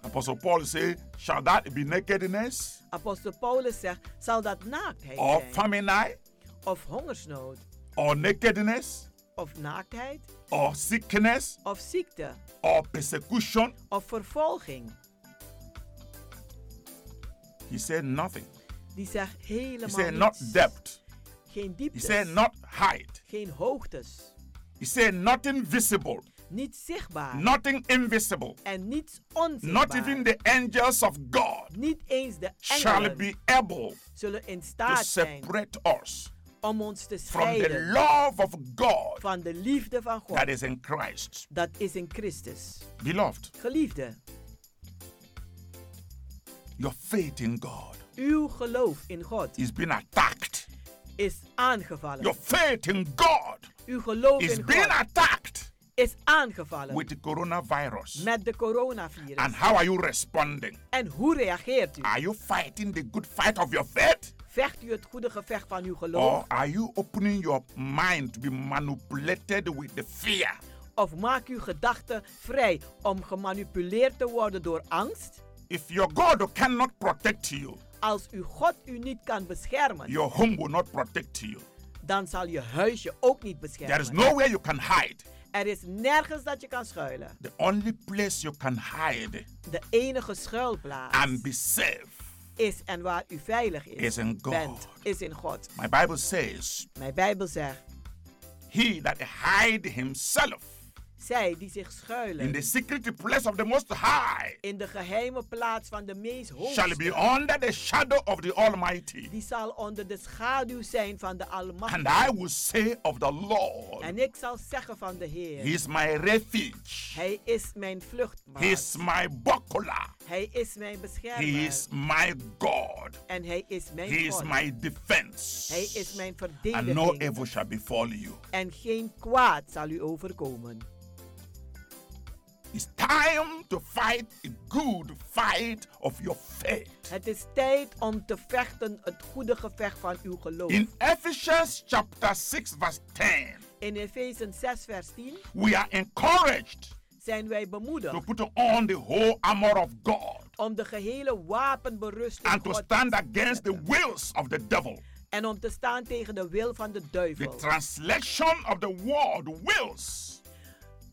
[SPEAKER 1] Apostle Paul said, Shall that be nakedness
[SPEAKER 13] Apostel Paulus zegt, zal dat naaktheid
[SPEAKER 3] Oh,
[SPEAKER 1] or
[SPEAKER 13] zijn,
[SPEAKER 1] famine
[SPEAKER 13] of hongersnood,
[SPEAKER 1] or nakedness
[SPEAKER 13] of naaktheid,
[SPEAKER 1] or sickness
[SPEAKER 13] of ziekte,
[SPEAKER 1] or persecution?
[SPEAKER 13] of vervolging.
[SPEAKER 1] He said nothing.
[SPEAKER 13] Die zegt
[SPEAKER 1] He
[SPEAKER 13] helemaal
[SPEAKER 1] said not
[SPEAKER 13] niets.
[SPEAKER 1] depth.
[SPEAKER 13] geen
[SPEAKER 1] He
[SPEAKER 13] dieptes,
[SPEAKER 1] said not height.
[SPEAKER 13] geen hoogtes,
[SPEAKER 1] He said nothing visible,
[SPEAKER 13] niet zichtbaar
[SPEAKER 1] nothing invisible,
[SPEAKER 13] en niets
[SPEAKER 1] not
[SPEAKER 13] onzichtbaar.
[SPEAKER 1] even the angels of God
[SPEAKER 13] niet eens de
[SPEAKER 1] shall
[SPEAKER 13] engelen
[SPEAKER 1] be able
[SPEAKER 13] zullen in
[SPEAKER 1] to
[SPEAKER 13] staat zijn
[SPEAKER 1] separate us
[SPEAKER 13] om ons te
[SPEAKER 1] from the
[SPEAKER 13] scheiden
[SPEAKER 1] love of God
[SPEAKER 13] van de liefde van God.
[SPEAKER 1] that is in Christ.
[SPEAKER 13] Dat is in Christus.
[SPEAKER 1] Beloved,
[SPEAKER 13] Geliefde,
[SPEAKER 1] your faith in God
[SPEAKER 13] uw geloof in God
[SPEAKER 1] is being attacked.
[SPEAKER 13] is aangevallen.
[SPEAKER 1] Your faith in God
[SPEAKER 13] Uw geloof
[SPEAKER 1] is
[SPEAKER 13] in
[SPEAKER 1] being
[SPEAKER 13] God
[SPEAKER 1] attacked
[SPEAKER 13] is aangevallen
[SPEAKER 1] with the coronavirus.
[SPEAKER 13] met de coronavirus.
[SPEAKER 1] And how are you responding?
[SPEAKER 13] En hoe reageert u?
[SPEAKER 1] Are you fighting the good fight of your faith?
[SPEAKER 13] Vecht u het goede gevecht van uw
[SPEAKER 1] Or
[SPEAKER 13] geloof?
[SPEAKER 1] are you opening your mind to be manipulated with the fear?
[SPEAKER 13] Of maak uw gedachten vrij om gemanipuleerd te worden door angst?
[SPEAKER 1] If your God cannot protect you,
[SPEAKER 13] Als uw God u niet kan beschermen,
[SPEAKER 1] your home will not protect you.
[SPEAKER 13] dan zal je huisje ook niet
[SPEAKER 1] There is
[SPEAKER 13] beschermen.
[SPEAKER 1] nowhere you can hide.
[SPEAKER 13] Er is nergens dat je kan schuilen.
[SPEAKER 1] The only place you can hide
[SPEAKER 13] De enige schuilplaats
[SPEAKER 1] and be safe
[SPEAKER 13] is en waar u veilig is,
[SPEAKER 1] is in God.
[SPEAKER 13] bent, is in God.
[SPEAKER 1] My Bible says,
[SPEAKER 13] Mijn Bijbel zegt,
[SPEAKER 1] He that hide himself
[SPEAKER 13] zij die zich
[SPEAKER 1] in the
[SPEAKER 13] schuilen
[SPEAKER 1] secret place of the Most High
[SPEAKER 13] in de geheime plaats van de meest
[SPEAKER 1] shall be
[SPEAKER 13] hoogste,
[SPEAKER 1] under the shadow of the Almighty.
[SPEAKER 13] die zal onder de schaduw zijn van de
[SPEAKER 1] And I
[SPEAKER 13] Almachtige.
[SPEAKER 1] will say of the Lord,
[SPEAKER 13] En ik zal zeggen van de Heer,
[SPEAKER 1] He is my refuge.
[SPEAKER 13] Hij is mijn vluchtmaat.
[SPEAKER 1] He is my buckler.
[SPEAKER 13] Hij is mijn
[SPEAKER 1] He
[SPEAKER 13] beschermer.
[SPEAKER 1] is my God.
[SPEAKER 13] En hij is mijn
[SPEAKER 1] He is
[SPEAKER 13] God.
[SPEAKER 1] my defense.
[SPEAKER 13] Hij is mijn
[SPEAKER 1] And no
[SPEAKER 13] verdediging.
[SPEAKER 1] evil shall befall you.
[SPEAKER 13] en geen kwaad zal u overkomen.
[SPEAKER 1] It's time to fight a good fight of your faith.
[SPEAKER 13] Het is tijd om te vechten het goede gevecht van uw geloof.
[SPEAKER 1] In Ephesians chapter 6, verse 10,
[SPEAKER 13] In Efeze 6 vers 10
[SPEAKER 1] we are encouraged
[SPEAKER 13] zijn wij
[SPEAKER 1] to
[SPEAKER 13] bemoedigd
[SPEAKER 1] put on the whole armor of God
[SPEAKER 13] om de gehele wapenberusting
[SPEAKER 1] and to
[SPEAKER 13] God
[SPEAKER 1] stand
[SPEAKER 13] te
[SPEAKER 1] against the
[SPEAKER 13] zetten.
[SPEAKER 1] wills of the devil.
[SPEAKER 13] en om te staan tegen de wil van de
[SPEAKER 1] The
[SPEAKER 13] duivel.
[SPEAKER 1] translation of the word wills,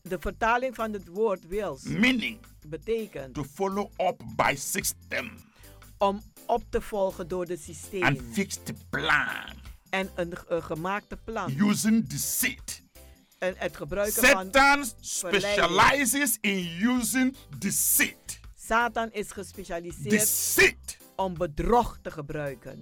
[SPEAKER 13] De vertaling van het woord wils
[SPEAKER 1] meaning
[SPEAKER 13] betekent
[SPEAKER 3] to follow up by system
[SPEAKER 13] om op te volgen door de systeem
[SPEAKER 3] and fix the plan
[SPEAKER 13] en een ge- een gemaakte plan.
[SPEAKER 3] using deceit.
[SPEAKER 13] en het gebruiken
[SPEAKER 3] Satan
[SPEAKER 13] van verleiding.
[SPEAKER 3] specializes in using deceit.
[SPEAKER 13] Satan is gespecialiseerd
[SPEAKER 3] Deceit
[SPEAKER 13] om bedrog te gebruiken.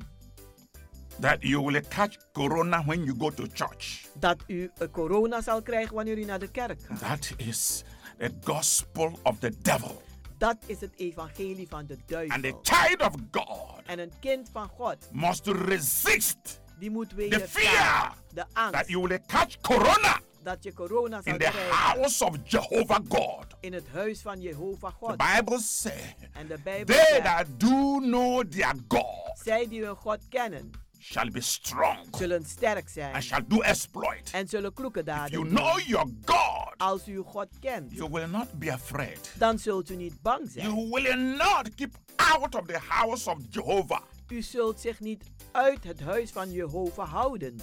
[SPEAKER 3] that you will catch corona when you go to church.
[SPEAKER 13] Dat u eh, corona zal krijgen wanneer u naar de kerk gaat.
[SPEAKER 3] That is the gospel of the devil.
[SPEAKER 13] Dat is het evangelie van de
[SPEAKER 3] And the
[SPEAKER 13] duivel.
[SPEAKER 3] child of God
[SPEAKER 13] En een kind van God,
[SPEAKER 3] must resist
[SPEAKER 13] die moet
[SPEAKER 3] the fear
[SPEAKER 13] weten de angst
[SPEAKER 3] that you will catch corona
[SPEAKER 13] dat je corona zal
[SPEAKER 3] in the
[SPEAKER 13] krijgen
[SPEAKER 3] house of Jehovah God.
[SPEAKER 13] in het huis van Jehovah
[SPEAKER 3] The
[SPEAKER 13] God.
[SPEAKER 3] Bible says,
[SPEAKER 13] En de
[SPEAKER 3] They
[SPEAKER 13] Bijbel zegt,
[SPEAKER 3] that do know their God
[SPEAKER 13] zij die hun God kennen,
[SPEAKER 3] shall be strong
[SPEAKER 13] zullen sterk
[SPEAKER 3] and
[SPEAKER 13] zijn
[SPEAKER 3] shall do exploit.
[SPEAKER 13] en zullen kloeke daden
[SPEAKER 3] You
[SPEAKER 13] doen.
[SPEAKER 3] know your God.
[SPEAKER 13] Als u uw God kent,
[SPEAKER 3] You will not be afraid.
[SPEAKER 13] dan zult u niet bang
[SPEAKER 3] You
[SPEAKER 13] zijn.
[SPEAKER 3] will not keep out of the house of Jehovah.
[SPEAKER 13] U zult zich niet uit het huis van Jehovah houden.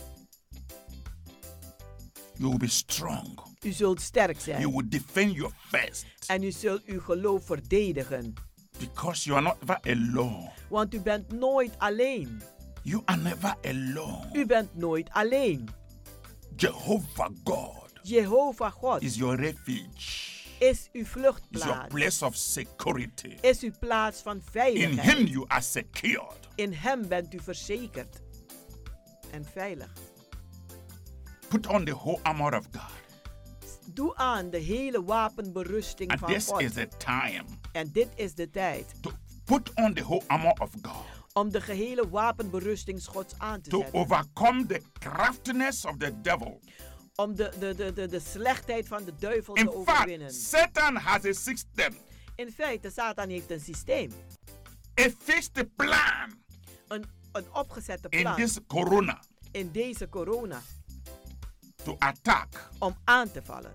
[SPEAKER 3] You will be strong.
[SPEAKER 13] U zult sterk
[SPEAKER 3] You
[SPEAKER 13] zijn
[SPEAKER 3] will defend your faith
[SPEAKER 13] en u zult uw geloof verdedigen.
[SPEAKER 3] because you are not ever alone.
[SPEAKER 13] Want u bent nooit alleen.
[SPEAKER 3] You are never alone.
[SPEAKER 13] U bent nooit alleen.
[SPEAKER 3] Jehovah God
[SPEAKER 13] Jehovah God
[SPEAKER 3] is your refuge,
[SPEAKER 13] is uw
[SPEAKER 3] is your
[SPEAKER 13] vluchtplaats,
[SPEAKER 3] place of security.
[SPEAKER 13] is uw plaats van
[SPEAKER 3] In Him
[SPEAKER 13] veiligheid.
[SPEAKER 3] you are secured.
[SPEAKER 13] In Hem bent u verzekerd en veilig.
[SPEAKER 3] Put on the whole armor of God.
[SPEAKER 13] Doe aan de hele wapenberusting
[SPEAKER 3] And
[SPEAKER 13] van
[SPEAKER 3] this is
[SPEAKER 13] God.
[SPEAKER 3] the time
[SPEAKER 13] En dit is de tijd
[SPEAKER 3] to put on the whole armor of God
[SPEAKER 13] om de gehele wapenberusting Gods aan te
[SPEAKER 3] to
[SPEAKER 13] zetten.
[SPEAKER 3] overcome the craftiness of the devil
[SPEAKER 13] Om de, de, de, de, de slechtheid van de duivel te
[SPEAKER 3] In
[SPEAKER 13] overwinnen.
[SPEAKER 3] fact, Satan has a system,
[SPEAKER 13] In feite, Satan heeft een systeem.
[SPEAKER 3] a fixed plan
[SPEAKER 13] Een, een opgezette
[SPEAKER 3] in
[SPEAKER 13] plan
[SPEAKER 3] this corona
[SPEAKER 13] in deze corona
[SPEAKER 3] to attack
[SPEAKER 13] om aan te vallen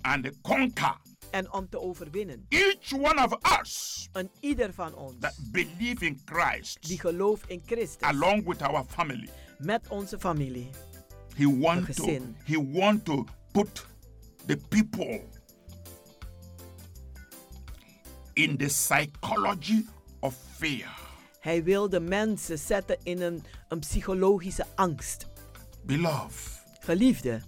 [SPEAKER 3] and conquer
[SPEAKER 13] en om te overwinnen.
[SPEAKER 3] each one of us
[SPEAKER 13] Een ieder van ons
[SPEAKER 3] that believe in Christ
[SPEAKER 13] die gelooft in Christus
[SPEAKER 3] along with our family.
[SPEAKER 13] met onze familie.
[SPEAKER 3] He want to
[SPEAKER 13] gezin.
[SPEAKER 3] he want to put the people in the psychology of fear
[SPEAKER 13] Hij wil de mensen zetten in een, een psychologische angst.
[SPEAKER 3] beloved
[SPEAKER 13] Geliefde,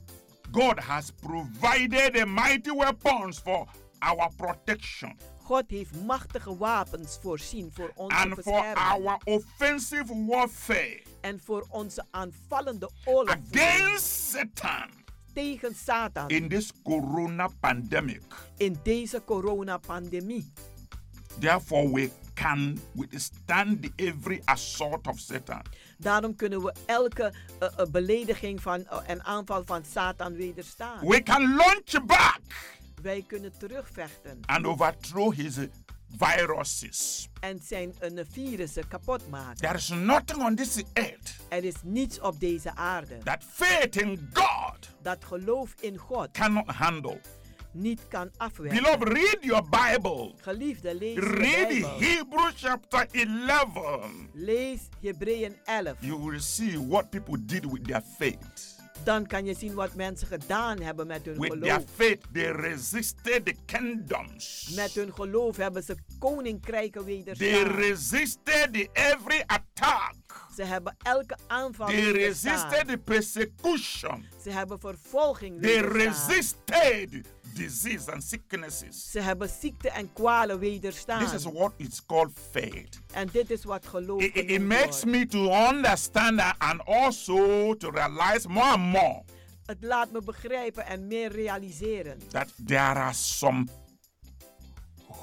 [SPEAKER 3] God has provided a mighty weapons for our protection
[SPEAKER 13] God heeft machtige wapens voorzien voor onze
[SPEAKER 3] and for
[SPEAKER 13] bescherming
[SPEAKER 3] our offensive warfare
[SPEAKER 13] en voor onze aanvallende oorlog
[SPEAKER 3] against Satan
[SPEAKER 13] tegen Satan
[SPEAKER 3] in this corona pandemic.
[SPEAKER 13] in deze coronapandemie.
[SPEAKER 3] Therefore, we can withstand every assault of Satan.
[SPEAKER 13] Daarom kunnen we elke eh, eh, belediging van, eh, en aanval van Satan wederstaan.
[SPEAKER 3] We can launch back
[SPEAKER 13] Wij kunnen terugvechten
[SPEAKER 3] and overthrow his uh, viruses.
[SPEAKER 13] en zijn eh, virussen kapot maken.
[SPEAKER 3] There is nothing on this earth
[SPEAKER 13] Er is niets op deze aarde
[SPEAKER 3] that faith in God
[SPEAKER 13] dat geloof in God
[SPEAKER 3] cannot handle.
[SPEAKER 13] niet kan afwerken.
[SPEAKER 3] Beloved, read your Bible.
[SPEAKER 13] Geliefde, lees de
[SPEAKER 3] Read
[SPEAKER 13] Bijbel.
[SPEAKER 3] Hebrew chapter 11.
[SPEAKER 13] Lees Hebreeën 11.
[SPEAKER 3] You will see what people did with their faith.
[SPEAKER 13] Dan kan je zien wat mensen gedaan hebben met hun
[SPEAKER 3] With their
[SPEAKER 13] geloof.
[SPEAKER 3] faith, they resisted the kingdoms.
[SPEAKER 13] Met hun geloof hebben ze koninkrijken
[SPEAKER 3] They
[SPEAKER 13] wederstaan.
[SPEAKER 3] resisted the every attack.
[SPEAKER 13] Ze hebben elke aanval
[SPEAKER 3] They
[SPEAKER 13] wederstaan.
[SPEAKER 3] resisted the persecution.
[SPEAKER 13] Ze hebben vervolging
[SPEAKER 3] They
[SPEAKER 13] wederstaan.
[SPEAKER 3] resisted disease and sicknesses.
[SPEAKER 13] Ze hebben ziekte en kwalen
[SPEAKER 3] This
[SPEAKER 13] wederstaan.
[SPEAKER 3] is what it's called faith.
[SPEAKER 13] En dit is wat geloof
[SPEAKER 3] It, it- it
[SPEAKER 13] genoemd
[SPEAKER 3] makes
[SPEAKER 13] wordt.
[SPEAKER 3] me to understand that and also to realize more and more
[SPEAKER 13] Het laat me begrijpen en meer realiseren.
[SPEAKER 3] that there are some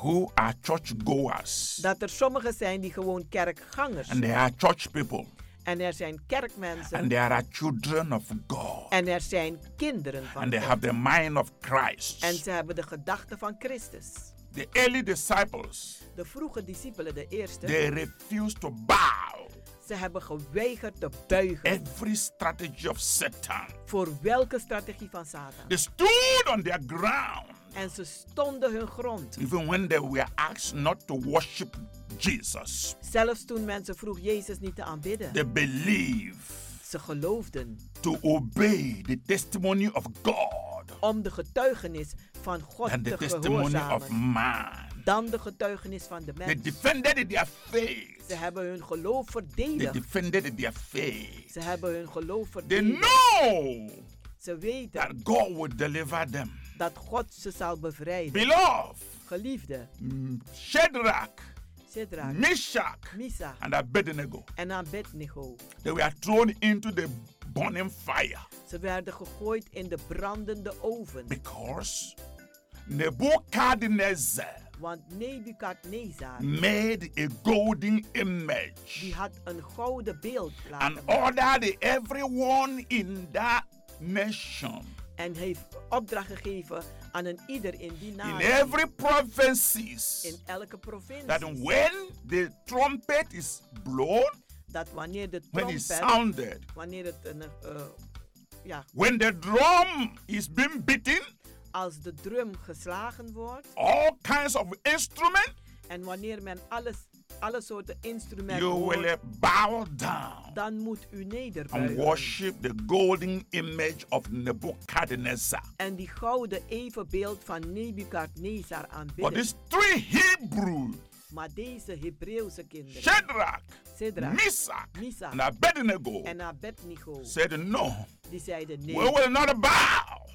[SPEAKER 3] who are churchgoers
[SPEAKER 13] Dat er sommigen zijn die gewoon kerkgangers
[SPEAKER 3] and
[SPEAKER 13] zijn.
[SPEAKER 3] there are church people
[SPEAKER 13] En er zijn kerkmensen.
[SPEAKER 3] and there are children of God
[SPEAKER 13] En er zijn kinderen van
[SPEAKER 3] and they
[SPEAKER 13] God.
[SPEAKER 3] have the mind of Christ.
[SPEAKER 13] En ze hebben de gedachten van Christus.
[SPEAKER 3] The early disciples
[SPEAKER 13] De vroege discipelen, de eerste,
[SPEAKER 3] they refuse to bow
[SPEAKER 13] ze hebben geweigerd te buigen
[SPEAKER 3] every strategy of Satan.
[SPEAKER 13] voor welke strategie van Satan.
[SPEAKER 3] They stood on their ground
[SPEAKER 13] En ze stonden hun grond.
[SPEAKER 3] even when they were asked not to worship Jesus.
[SPEAKER 13] Zelfs toen mensen vroeg Jezus niet te aanbidden.
[SPEAKER 3] They believe
[SPEAKER 13] Ze geloofden
[SPEAKER 3] to obey the testimony of God
[SPEAKER 13] om de getuigenis van God
[SPEAKER 1] than the
[SPEAKER 13] te
[SPEAKER 1] testimony of
[SPEAKER 13] gehoorzamen
[SPEAKER 1] man.
[SPEAKER 13] dan de getuigenis van de
[SPEAKER 1] They
[SPEAKER 13] mens.
[SPEAKER 1] defended their faith.
[SPEAKER 13] Ze hebben hun geloof
[SPEAKER 1] They
[SPEAKER 13] verdedigd.
[SPEAKER 1] defended their faith.
[SPEAKER 13] Ze hebben hun geloof
[SPEAKER 1] They
[SPEAKER 13] verdedigd.
[SPEAKER 1] know
[SPEAKER 13] Ze weten
[SPEAKER 1] that God will deliver them.
[SPEAKER 13] dat God ze zal bevrijden.
[SPEAKER 1] Beloved,
[SPEAKER 13] Geliefde,
[SPEAKER 1] Shadrach,
[SPEAKER 13] Sidraak,
[SPEAKER 1] Meshach,
[SPEAKER 13] Misa
[SPEAKER 1] and Abednego,
[SPEAKER 13] en Abednego.
[SPEAKER 1] they were thrown into the burning fire
[SPEAKER 13] Ze werden gegooid in de brandende oven.
[SPEAKER 1] because Nebuchadnezzar
[SPEAKER 13] Want Nebukadnezar,
[SPEAKER 1] made a golden image
[SPEAKER 13] die had een gouden beeld
[SPEAKER 1] and
[SPEAKER 13] laten maken.
[SPEAKER 1] ordered everyone in that nation,
[SPEAKER 13] En heeft opdracht gegeven aan een ieder in die
[SPEAKER 1] in
[SPEAKER 13] naam.
[SPEAKER 1] every provinces,
[SPEAKER 13] In elke
[SPEAKER 1] that
[SPEAKER 13] provincie.
[SPEAKER 1] when the trumpet is blown,
[SPEAKER 13] Dat wanneer de
[SPEAKER 1] when it
[SPEAKER 13] trompet,
[SPEAKER 1] sounded,
[SPEAKER 13] wanneer het een, eh, ja,
[SPEAKER 1] when the drum is being beaten,
[SPEAKER 13] als de drum geslagen wordt
[SPEAKER 1] all kinds of instruments,
[SPEAKER 13] en wanneer men alles, alle soorten instrumenten
[SPEAKER 1] you
[SPEAKER 13] hoort,
[SPEAKER 1] will bow down
[SPEAKER 13] dan moet u
[SPEAKER 1] and
[SPEAKER 13] nederbuigen.
[SPEAKER 1] worship the golden image of Nebuchadnezzar.
[SPEAKER 13] En die gouden evenbeeld van Nebukadnezar
[SPEAKER 1] But
[SPEAKER 13] aanbidden.
[SPEAKER 1] these three Hebrew,
[SPEAKER 13] Maar deze Hebreeuwse kinderen,
[SPEAKER 1] Shadrach,
[SPEAKER 13] Sidra,
[SPEAKER 1] Meshach,
[SPEAKER 13] Misa
[SPEAKER 1] and Abednego,
[SPEAKER 13] en Abednego,
[SPEAKER 1] said, No,
[SPEAKER 13] die zeiden
[SPEAKER 1] we
[SPEAKER 13] nee,
[SPEAKER 1] will not bow.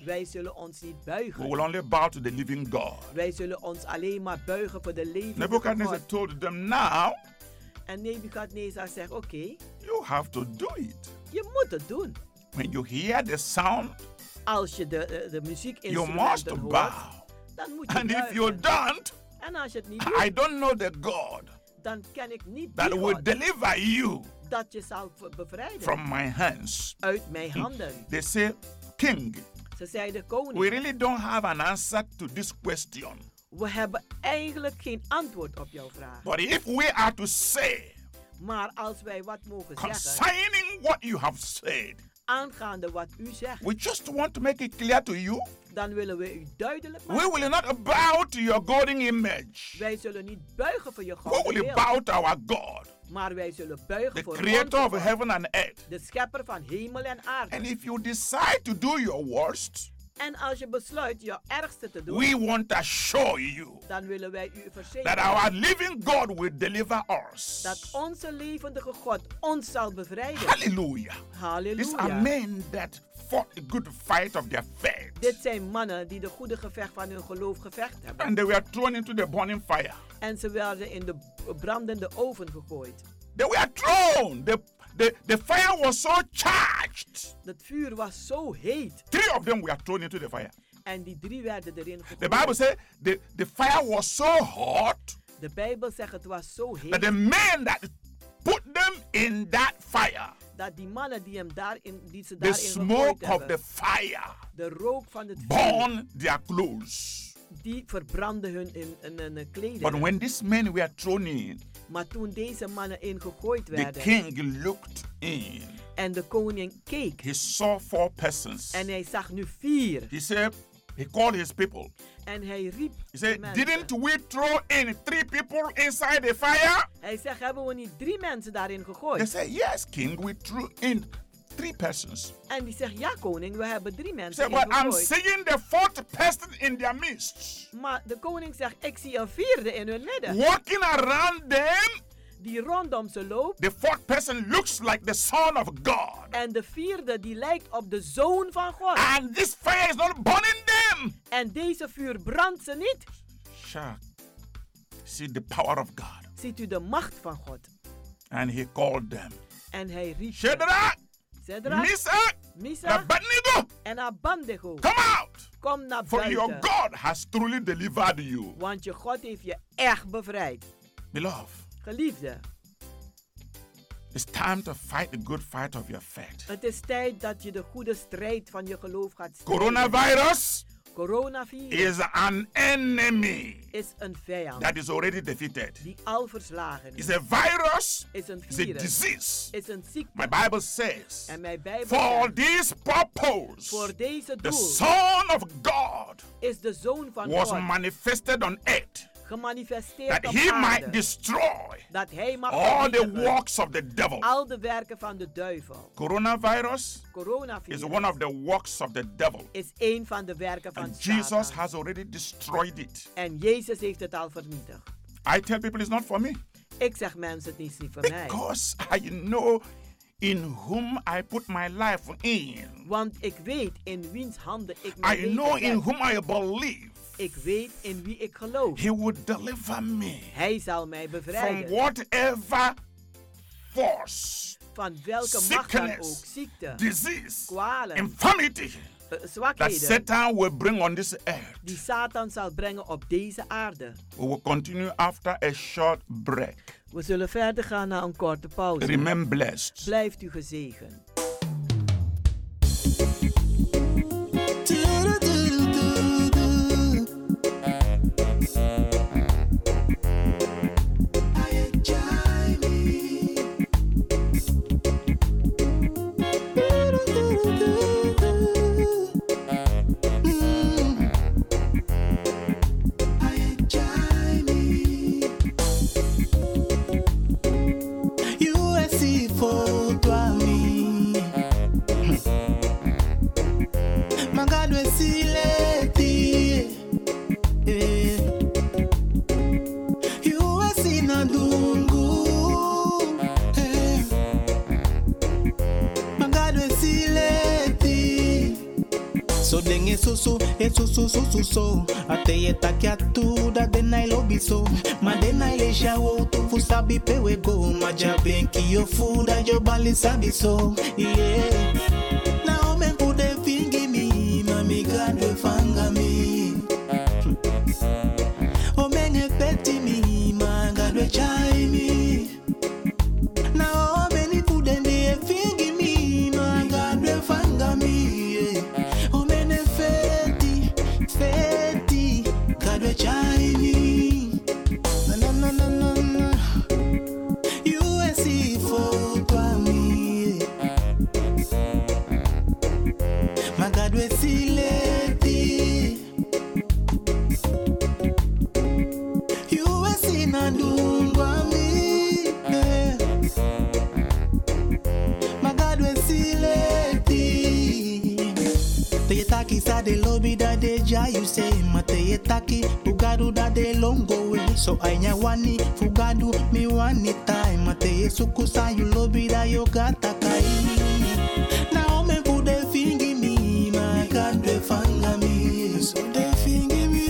[SPEAKER 13] wij zullen ons niet
[SPEAKER 1] We
[SPEAKER 13] buigen.
[SPEAKER 1] will only bow to the living God.
[SPEAKER 13] Wij zullen ons alleen maar buigen voor de levende
[SPEAKER 1] Nebuchadnezzar
[SPEAKER 13] God.
[SPEAKER 1] told them, Now
[SPEAKER 13] En Nebukadnezar zegt, oké,
[SPEAKER 1] you have to do it.
[SPEAKER 13] je moet het doen.
[SPEAKER 1] When you hear the sound,
[SPEAKER 13] Als je de, de, de
[SPEAKER 1] you must
[SPEAKER 13] muziekinstrumenten hoort,
[SPEAKER 1] bow.
[SPEAKER 13] dan moet je
[SPEAKER 1] And if you
[SPEAKER 13] buigen.
[SPEAKER 1] don't,
[SPEAKER 13] En als je het niet
[SPEAKER 1] I
[SPEAKER 13] doet,
[SPEAKER 1] don't know the God
[SPEAKER 13] dan ken ik niet
[SPEAKER 1] that
[SPEAKER 13] die
[SPEAKER 1] will
[SPEAKER 13] God
[SPEAKER 1] deliver you
[SPEAKER 13] dat je zal v- bevrijden
[SPEAKER 1] from my hands.
[SPEAKER 13] uit mijn handen.
[SPEAKER 1] They say, King,
[SPEAKER 13] Ze zeiden,
[SPEAKER 1] we
[SPEAKER 13] koning,
[SPEAKER 1] really don't have an answer to this question.
[SPEAKER 13] we hebben eigenlijk geen antwoord op jouw vraag.
[SPEAKER 1] But if we are to say,
[SPEAKER 13] Maar als wij wat mogen zeggen,
[SPEAKER 1] concerning what you have said,
[SPEAKER 13] aangaande wat u zegt,
[SPEAKER 1] we just want to make it clear to you,
[SPEAKER 13] dan willen we u duidelijk
[SPEAKER 1] we
[SPEAKER 13] maken.
[SPEAKER 1] will not bow to your golden image.
[SPEAKER 13] Wij zullen niet buigen voor je
[SPEAKER 1] We
[SPEAKER 13] gouden
[SPEAKER 1] will
[SPEAKER 13] beeld,
[SPEAKER 1] bow to our God,
[SPEAKER 13] maar wij zullen
[SPEAKER 1] the
[SPEAKER 13] buigen voor
[SPEAKER 1] creator
[SPEAKER 13] onze
[SPEAKER 1] of
[SPEAKER 13] God,
[SPEAKER 1] heaven and earth.
[SPEAKER 13] de schepper van hemel en
[SPEAKER 1] And
[SPEAKER 13] aarde.
[SPEAKER 1] if you decide to do your worst,
[SPEAKER 13] En als je besluit je ergste te doen,
[SPEAKER 1] we want to assure you
[SPEAKER 13] dan willen wij u
[SPEAKER 1] that
[SPEAKER 13] verzekeren
[SPEAKER 1] our living God will deliver us.
[SPEAKER 13] dat onze levendige God ons zal bevrijden.
[SPEAKER 1] Hallelujah. These are
[SPEAKER 13] Halleluja.
[SPEAKER 1] men that fought the good fight of their faith.
[SPEAKER 13] Dit zijn mannen die de goede gevecht van hun geloof gevecht hebben.
[SPEAKER 1] And they were thrown into the burning fire.
[SPEAKER 13] En ze werden in de brandende oven gegooid.
[SPEAKER 1] They were thrown. The, the, the fire was so charged.
[SPEAKER 13] Dat vuur was zo heet.
[SPEAKER 1] Three of them were thrown into the fire.
[SPEAKER 13] En die drie werden erin gegooid.
[SPEAKER 1] The Bible said the, the fire was so hot
[SPEAKER 13] de Bijbel zegt het was zo
[SPEAKER 1] that
[SPEAKER 13] heet
[SPEAKER 1] the men that put them in that fire,
[SPEAKER 13] dat die mannen die, hem daarin, die ze
[SPEAKER 1] the
[SPEAKER 13] daarin gegooid
[SPEAKER 1] smoke of
[SPEAKER 13] hebben,
[SPEAKER 1] the fire
[SPEAKER 13] de rook van het vuur,
[SPEAKER 1] burned their clothes.
[SPEAKER 13] die verbrandde hun in, in, in, in
[SPEAKER 1] But
[SPEAKER 13] kleding.
[SPEAKER 1] when these men were thrown in,
[SPEAKER 13] Maar toen deze mannen ingegooid
[SPEAKER 1] the
[SPEAKER 13] werden
[SPEAKER 1] king looked in.
[SPEAKER 13] en de koning keek
[SPEAKER 1] He saw four persons.
[SPEAKER 13] en hij zag nu vier
[SPEAKER 1] He said, he called his people.
[SPEAKER 13] en hij riep
[SPEAKER 1] He
[SPEAKER 13] de
[SPEAKER 1] said,
[SPEAKER 13] mensen.
[SPEAKER 1] Didn't we throw in three people inside the fire?
[SPEAKER 13] Hij zegt, hebben we niet drie mensen daarin
[SPEAKER 1] They
[SPEAKER 13] gegooid?
[SPEAKER 1] said, Yes, king, we threw in three persons.
[SPEAKER 13] En die zegt, ja koning, we hebben drie
[SPEAKER 1] He
[SPEAKER 13] mensen
[SPEAKER 1] said, But
[SPEAKER 13] erin
[SPEAKER 1] I'm
[SPEAKER 13] gegooid.
[SPEAKER 1] seeing the fourth person in their midst,
[SPEAKER 13] Maar de koning zegt, ik zie een vierde in hun midden.
[SPEAKER 1] walking around them.
[SPEAKER 13] Die rondom ze loopt.
[SPEAKER 1] The fourth person looks like the Son of God.
[SPEAKER 13] En de vierde die lijkt op de zoon van God.
[SPEAKER 1] And this fire is not burning them.
[SPEAKER 13] En deze vuur brandt ze niet.
[SPEAKER 1] Shark, see the power of God.
[SPEAKER 13] Ziet u de macht van God.
[SPEAKER 1] And he called them
[SPEAKER 13] En hij riep, ze.
[SPEAKER 1] Shadrach,
[SPEAKER 13] Zedra,
[SPEAKER 1] Meshach,
[SPEAKER 13] Misa
[SPEAKER 1] Abednego,
[SPEAKER 13] en Abandego.
[SPEAKER 1] come out.
[SPEAKER 13] Kom naar
[SPEAKER 1] For your
[SPEAKER 13] buiten.
[SPEAKER 1] God has truly delivered you.
[SPEAKER 13] Want je God heeft je echt bevrijd.
[SPEAKER 1] Beloved,
[SPEAKER 13] Geliefde,
[SPEAKER 1] it's time to fight the good fight of your faith.
[SPEAKER 13] het is tijd dat je de goede strijd van je geloof gaat strijden.
[SPEAKER 1] Coronavirus
[SPEAKER 13] Coronavirus
[SPEAKER 1] is an enemy
[SPEAKER 13] is een vijand
[SPEAKER 1] that is already defeated.
[SPEAKER 13] die al verslagen is.
[SPEAKER 1] It's a virus,
[SPEAKER 13] Is een
[SPEAKER 1] it's a
[SPEAKER 13] virus,
[SPEAKER 1] disease.
[SPEAKER 13] is een ziekte.
[SPEAKER 1] My Bible says,
[SPEAKER 13] En mijn Bijbel
[SPEAKER 1] for
[SPEAKER 13] zegt,
[SPEAKER 1] this purpose,
[SPEAKER 13] voor deze
[SPEAKER 1] the
[SPEAKER 13] doel
[SPEAKER 1] Son of God
[SPEAKER 13] is de Zoon van
[SPEAKER 1] was
[SPEAKER 13] God
[SPEAKER 1] manifested on earth
[SPEAKER 13] gemanifesteerd
[SPEAKER 1] that
[SPEAKER 13] op
[SPEAKER 1] he might
[SPEAKER 13] aarde.
[SPEAKER 1] destroy
[SPEAKER 13] Dat hij mag
[SPEAKER 1] all the
[SPEAKER 13] vernietigen
[SPEAKER 1] works of the devil.
[SPEAKER 13] al de werken van de duivel.
[SPEAKER 1] Coronavirus is
[SPEAKER 13] Coronavirus
[SPEAKER 1] one of the works of the devil.
[SPEAKER 13] is een van de werken van
[SPEAKER 1] And Jesus
[SPEAKER 13] Satan.
[SPEAKER 1] has already destroyed it.
[SPEAKER 13] En Jezus heeft het al vernietigd.
[SPEAKER 1] I tell people it's not for me
[SPEAKER 13] Ik zeg mensen, het is niet voor mij.
[SPEAKER 1] because I know in whom I put my life in.
[SPEAKER 13] Want ik weet in wiens handen ik
[SPEAKER 1] I
[SPEAKER 13] mijn
[SPEAKER 1] know
[SPEAKER 13] leven
[SPEAKER 1] in
[SPEAKER 13] heb.
[SPEAKER 1] whom I believe.
[SPEAKER 13] Ik weet in wie ik geloof.
[SPEAKER 1] He will deliver me
[SPEAKER 13] Hij zal mij
[SPEAKER 1] from
[SPEAKER 13] bevrijden.
[SPEAKER 1] whatever force,
[SPEAKER 13] Van welke macht dan ook.
[SPEAKER 1] Sickness,
[SPEAKER 13] Ziekte,
[SPEAKER 1] disease,
[SPEAKER 13] kwalen,
[SPEAKER 1] infirmity
[SPEAKER 13] eh,
[SPEAKER 1] that
[SPEAKER 13] zwakheden.
[SPEAKER 1] Satan will bring on this earth.
[SPEAKER 13] Die Satan zal brengen op deze aarde.
[SPEAKER 1] We will continue after a short break.
[SPEAKER 13] We zullen verder gaan na een korte pauze.
[SPEAKER 1] Remain blessed.
[SPEAKER 13] Blijft u gezegend.
[SPEAKER 7] You es si foto a mí. Magado es si le ti. Eh. You es si na dungu. Eh. Magado es si le ti. So den esusu, esusu, susu, so. Ateye takia tu da denai lobi so. Ma denai le shawo tu fusabi pewe go. Ma jabenki yo fu da jo bali sabi so. Yeah. Na omen pude fingi mi, ma mi gadwe fanga mi. Omenge peti mi, ma gadwe chai mi. Na omeni pude ndiye fingi mi, ma gadwe fanga mi. Yeah. Omene feti, feti, gadwe chai mi. Na na na na na E na. USC foto a mi. Magadwe sileti. USC na dungwa mi. eh. Magadwe sileti. Teyetaki sa de lobby da de ja you say ma teyetaki fugadu da de longo we so anya wani fugadu mi wani time ma teyesuku sa you lobby da yo gata kai na ome fude fingi mi ma kadwe fanga mi so de fingi mi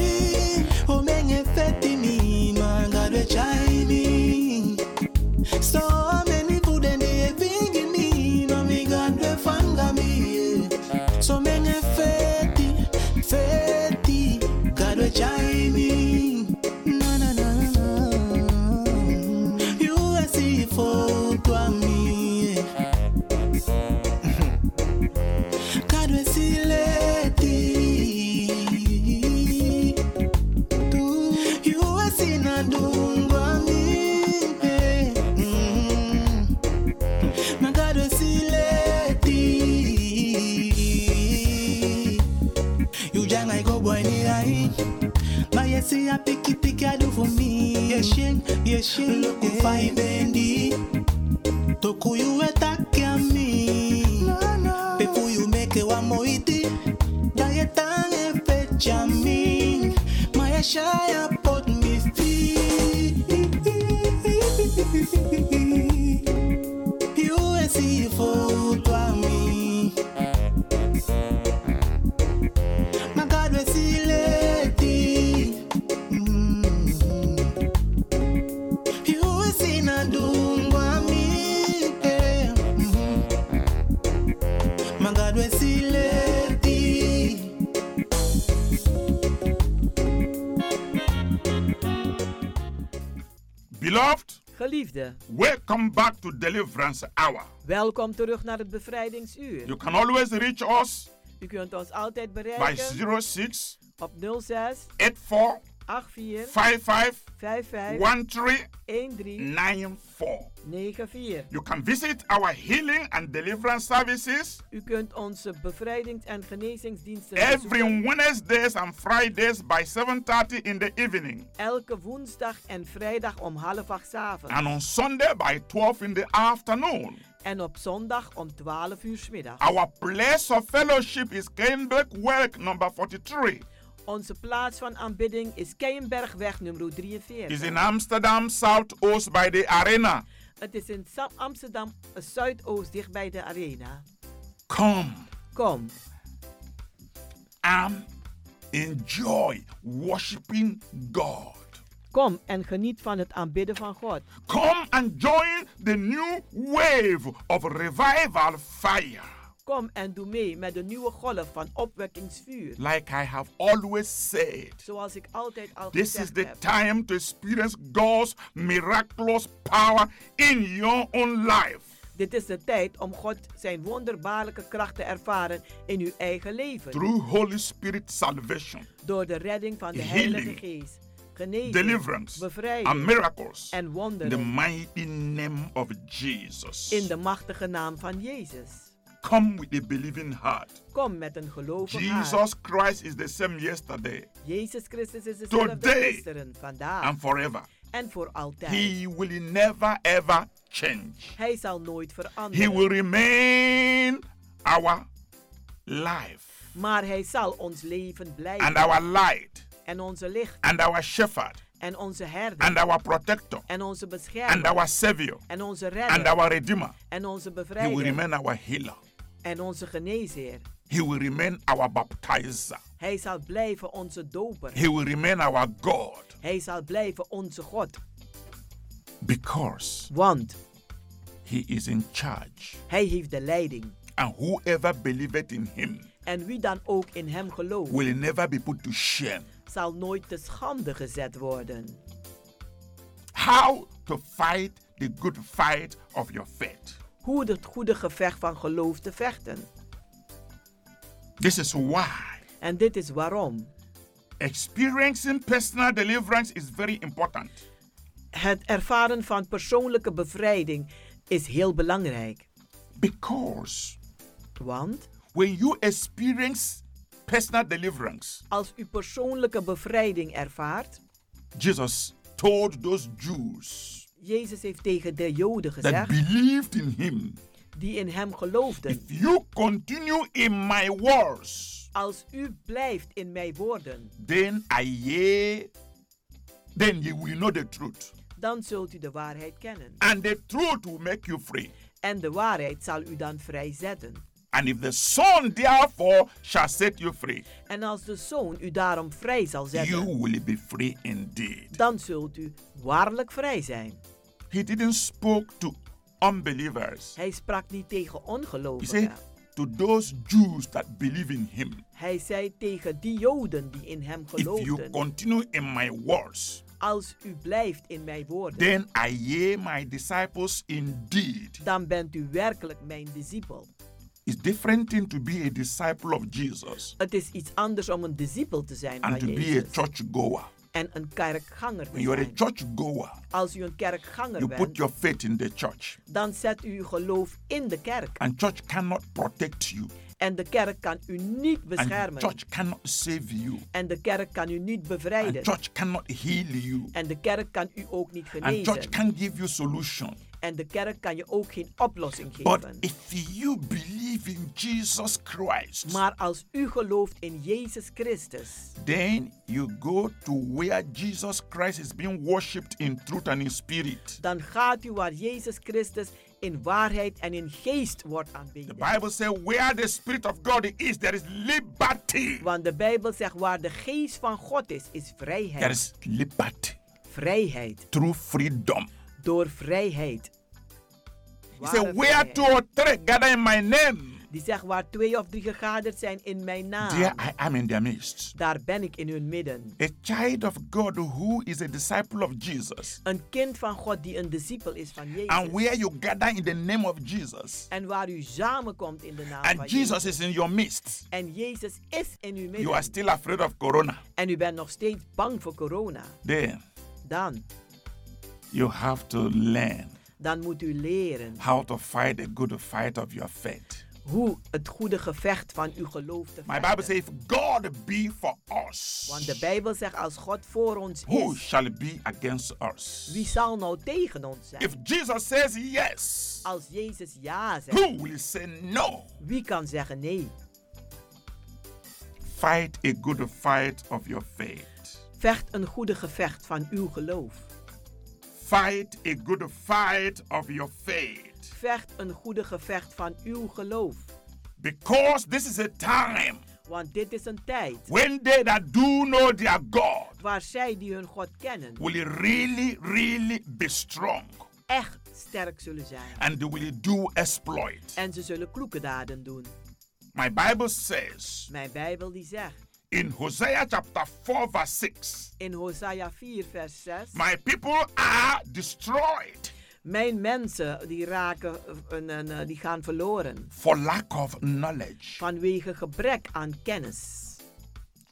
[SPEAKER 7] omenge feti mi ma gadwe chai mi so many food and they bring me, no me God they fanga me. yeah. So many feti, feti, God will chime me. Na na na na. You will see photo of me. yeah. God will see lady. You will see na dungwa me. Mm. Mm-hmm. Magado sileti. You jang I go boy ni ai. My yes I pick it pick do for me. Yeshin, yeshin. Look who find bendy. Toku you attack me. Before you make it one more iti. Dayetan e fecha mi. My yes I put me feet. You will see photo of me. My God will see lady. Mm-hmm. Mm. You will see na dungwa me. eh. Mhm. My God will see lady.
[SPEAKER 1] Beloved,
[SPEAKER 13] Geliefde,
[SPEAKER 1] welcome back to Deliverance Hour.
[SPEAKER 13] welkom terug naar het bevrijdingsuur.
[SPEAKER 1] You can always reach us
[SPEAKER 13] U kunt ons altijd
[SPEAKER 1] by
[SPEAKER 13] bereiken
[SPEAKER 1] 06
[SPEAKER 13] op 06
[SPEAKER 1] 84
[SPEAKER 13] 84
[SPEAKER 1] 55
[SPEAKER 13] 55
[SPEAKER 1] 13
[SPEAKER 13] 13
[SPEAKER 1] 94.
[SPEAKER 13] 94.
[SPEAKER 1] You can visit our healing and deliverance services
[SPEAKER 13] U kunt onze bevrijdings- en genezingsdiensten
[SPEAKER 1] every
[SPEAKER 13] bezoeken.
[SPEAKER 1] Wednesdays and Fridays by 7:30 in the evening
[SPEAKER 13] elke woensdag en vrijdag om half acht 's avonds.
[SPEAKER 1] and on Sunday by 12 in the afternoon.
[SPEAKER 13] En op zondag om 12 uur 's middags.
[SPEAKER 1] Our place of fellowship is Kenbeck Work number 43.
[SPEAKER 13] Onze plaats van aanbidding is Keienbergweg nummer
[SPEAKER 1] Is
[SPEAKER 13] 43.
[SPEAKER 1] in Amsterdam South Oost by the arena.
[SPEAKER 13] Het is in Sam- Amsterdam eh, Zuidoost dichtbij de arena.
[SPEAKER 1] Come
[SPEAKER 13] Kom
[SPEAKER 1] and enjoy worshiping God.
[SPEAKER 13] Kom en geniet van het aanbidden van God.
[SPEAKER 1] Come and join the new wave of revival fire.
[SPEAKER 13] Kom en doe mee met de nieuwe golf van opwekkingsvuur.
[SPEAKER 1] Like I have always said,
[SPEAKER 13] Zoals ik altijd al
[SPEAKER 1] this is
[SPEAKER 13] gezegd
[SPEAKER 1] the
[SPEAKER 13] heb.
[SPEAKER 1] time to experience God's miraculous power in your own life
[SPEAKER 13] Dit is de tijd om God zijn wonderbaarlijke kracht te ervaren in uw eigen leven.
[SPEAKER 1] through Holy Spirit salvation,
[SPEAKER 13] Door de redding van de
[SPEAKER 1] Healing.
[SPEAKER 13] Heilige Geest. Genezing,
[SPEAKER 1] deliverance, and
[SPEAKER 13] bevrijding
[SPEAKER 1] miracles.
[SPEAKER 13] en
[SPEAKER 1] In the
[SPEAKER 13] wonderen.
[SPEAKER 1] mighty name of Jesus.
[SPEAKER 13] In de machtige naam van Jezus.
[SPEAKER 1] Come with a believing heart.
[SPEAKER 13] Kom met een gelovig hart.
[SPEAKER 1] Jesus Christ is the same yesterday
[SPEAKER 13] Jezus Christus is dezelfde
[SPEAKER 1] Today.
[SPEAKER 13] gisteren, vandaag
[SPEAKER 1] and forever.
[SPEAKER 13] en voor altijd.
[SPEAKER 1] He will never ever change.
[SPEAKER 13] Hij zal nooit
[SPEAKER 1] He
[SPEAKER 13] veranderen.
[SPEAKER 1] will remain our life
[SPEAKER 13] Maar hij zal ons leven blijven.
[SPEAKER 1] and our light
[SPEAKER 13] en onze licht.
[SPEAKER 1] and our shepherd
[SPEAKER 13] En onze herder.
[SPEAKER 1] and our protector
[SPEAKER 13] en onze beschermer.
[SPEAKER 1] and our savior
[SPEAKER 13] en onze redder.
[SPEAKER 1] and our redeemer.
[SPEAKER 13] en onze
[SPEAKER 1] He will
[SPEAKER 13] bevrijder.
[SPEAKER 1] remain our healer.
[SPEAKER 13] en onze geneesheer.
[SPEAKER 1] He will remain our baptizer.
[SPEAKER 13] Hij zal blijven onze doper.
[SPEAKER 1] He will remain our God
[SPEAKER 13] Hij zal blijven onze God.
[SPEAKER 1] because
[SPEAKER 13] Want
[SPEAKER 1] he is in charge.
[SPEAKER 13] hij heeft de leiding.
[SPEAKER 1] And whoever believeth in him
[SPEAKER 13] En wie dan ook in hem gelooft,
[SPEAKER 1] will never be put to shame.
[SPEAKER 13] zal nooit te schande gezet worden.
[SPEAKER 1] How to fight the good fight of your faith.
[SPEAKER 13] Hoe het goede gevecht van geloof te vechten.
[SPEAKER 1] This is why
[SPEAKER 13] En dit is waarom.
[SPEAKER 1] experiencing personal deliverance is very important.
[SPEAKER 13] Het ervaren van persoonlijke bevrijding is heel belangrijk.
[SPEAKER 1] Because
[SPEAKER 13] Want
[SPEAKER 1] when you experience personal deliverance,
[SPEAKER 13] als u persoonlijke bevrijding ervaart,
[SPEAKER 1] Jesus told those Jews
[SPEAKER 13] Jezus heeft tegen de Joden
[SPEAKER 1] that
[SPEAKER 13] gezegd,
[SPEAKER 1] believed in him,
[SPEAKER 13] die in hem geloofden,
[SPEAKER 1] if you continue in my words,
[SPEAKER 13] als u blijft in mijn woorden,
[SPEAKER 1] then I ye, then you will know the truth.
[SPEAKER 13] dan zult u de waarheid kennen.
[SPEAKER 1] And the truth will make you free.
[SPEAKER 13] En de waarheid zal u dan vrijzetten.
[SPEAKER 1] And if the Son therefore shall set you free,
[SPEAKER 13] En als de zoon u daarom vrij zal
[SPEAKER 1] you
[SPEAKER 13] zetten,
[SPEAKER 1] will be free indeed.
[SPEAKER 13] dan zult u waarlijk vrij zijn.
[SPEAKER 1] He didn't spoke to unbelievers.
[SPEAKER 13] Hij sprak niet tegen
[SPEAKER 1] He said
[SPEAKER 13] ongelovigen.
[SPEAKER 1] to those Jews that believe in him,
[SPEAKER 13] Hij zei tegen die Joden die in hem
[SPEAKER 1] if you
[SPEAKER 13] geloofden,
[SPEAKER 1] continue in my words,
[SPEAKER 13] als u blijft in mijn woorden,
[SPEAKER 1] then I ye my disciples indeed.
[SPEAKER 13] dan bent u werkelijk mijn discipel.
[SPEAKER 1] It's different thing to be a disciple of Jesus
[SPEAKER 13] Het is iets anders om een discipel te zijn
[SPEAKER 1] and
[SPEAKER 13] van
[SPEAKER 1] to be a
[SPEAKER 13] Jezus
[SPEAKER 1] church goer.
[SPEAKER 13] en een kerkganger te
[SPEAKER 1] When you are a
[SPEAKER 13] zijn.
[SPEAKER 1] church goer,
[SPEAKER 13] Als u een kerkganger
[SPEAKER 1] you put
[SPEAKER 13] bent,
[SPEAKER 1] your faith in the church,
[SPEAKER 13] dan zet u uw geloof in de kerk.
[SPEAKER 1] and church cannot protect you,
[SPEAKER 13] En de kerk kan u niet
[SPEAKER 1] and
[SPEAKER 13] beschermen.
[SPEAKER 1] church cannot save you,
[SPEAKER 13] En de kerk kan u niet
[SPEAKER 1] and
[SPEAKER 13] bevrijden.
[SPEAKER 1] church cannot heal you,
[SPEAKER 13] En de kerk kan u ook niet
[SPEAKER 1] and church
[SPEAKER 13] genezen.
[SPEAKER 1] can't give you solution.
[SPEAKER 13] En de kerk kan je ook geen oplossing
[SPEAKER 1] But
[SPEAKER 13] geven.
[SPEAKER 1] if you believe in Jesus Christ,
[SPEAKER 13] Maar als u gelooft in Jezus Christus,
[SPEAKER 1] then you go to where Jesus Christ is being worshipped in truth and in spirit.
[SPEAKER 13] dan gaat u waar Jezus Christus in waarheid en in geest wordt
[SPEAKER 1] The
[SPEAKER 13] aanbeden.
[SPEAKER 1] Bible says, where the Spirit of God is, there is liberty.
[SPEAKER 13] Want de Bijbel zegt waar de geest van God is, is
[SPEAKER 1] There
[SPEAKER 13] vrijheid.
[SPEAKER 1] is liberty
[SPEAKER 13] Vrijheid.
[SPEAKER 1] through freedom.
[SPEAKER 13] Door vrijheid.
[SPEAKER 1] He
[SPEAKER 13] Ware
[SPEAKER 1] said, where two or three "Oh, gather in my name,
[SPEAKER 13] Die zegt waar twee of drie gegaderd zijn in mijn naam.
[SPEAKER 3] There I am in their midst.
[SPEAKER 13] Daar ben ik in hun midden.
[SPEAKER 3] A child of God who is a disciple of Jesus.
[SPEAKER 13] Een kind van God die een discipel is van Jezus.
[SPEAKER 3] And where you gather in the name of Jesus.
[SPEAKER 13] en waar u samenkomt in de naam van
[SPEAKER 3] And Jesus
[SPEAKER 13] Jezus.
[SPEAKER 3] is in your midst.
[SPEAKER 13] en Jezus is in uw midden.
[SPEAKER 3] You are still afraid of corona.
[SPEAKER 13] en u bent nog steeds bang voor corona.
[SPEAKER 3] Then
[SPEAKER 13] Dan,
[SPEAKER 3] you have to learn
[SPEAKER 13] dan moet u leren
[SPEAKER 3] how to fight a good fight of your faith.
[SPEAKER 13] hoe het goede gevecht van uw geloof te
[SPEAKER 3] My
[SPEAKER 13] vechten.
[SPEAKER 3] Bible says, if God be for us,
[SPEAKER 13] Want de Bijbel zegt als God voor ons
[SPEAKER 3] who
[SPEAKER 13] is,
[SPEAKER 3] shall be against us?
[SPEAKER 13] wie zal nou tegen ons zijn?
[SPEAKER 3] If Jesus says yes,
[SPEAKER 13] Als Jezus ja zegt,
[SPEAKER 3] who will say no?
[SPEAKER 13] wie kan zeggen nee?
[SPEAKER 3] Fight a good fight of your faith.
[SPEAKER 13] Vecht een goede gevecht van uw geloof.
[SPEAKER 3] Fight a good fight of your faith.
[SPEAKER 13] Vecht een goede gevecht van uw geloof.
[SPEAKER 3] Because this is a time
[SPEAKER 13] Want dit is een tijd
[SPEAKER 3] when they that do know their God
[SPEAKER 13] waar zij die hun God kennen
[SPEAKER 3] will really, really be strong
[SPEAKER 13] echt sterk zullen zijn.
[SPEAKER 3] and they will do exploit.
[SPEAKER 13] En ze zullen kloeke daden doen.
[SPEAKER 3] My Bible says
[SPEAKER 13] Mijn Bijbel die zegt
[SPEAKER 3] in Hosea chapter 4, verse 6
[SPEAKER 13] in Hosea 4 vers 6.
[SPEAKER 3] My people are destroyed
[SPEAKER 13] Mijn mensen die raken eh, een, een, eh, die gaan verloren
[SPEAKER 3] for lack of knowledge.
[SPEAKER 13] vanwege gebrek aan kennis.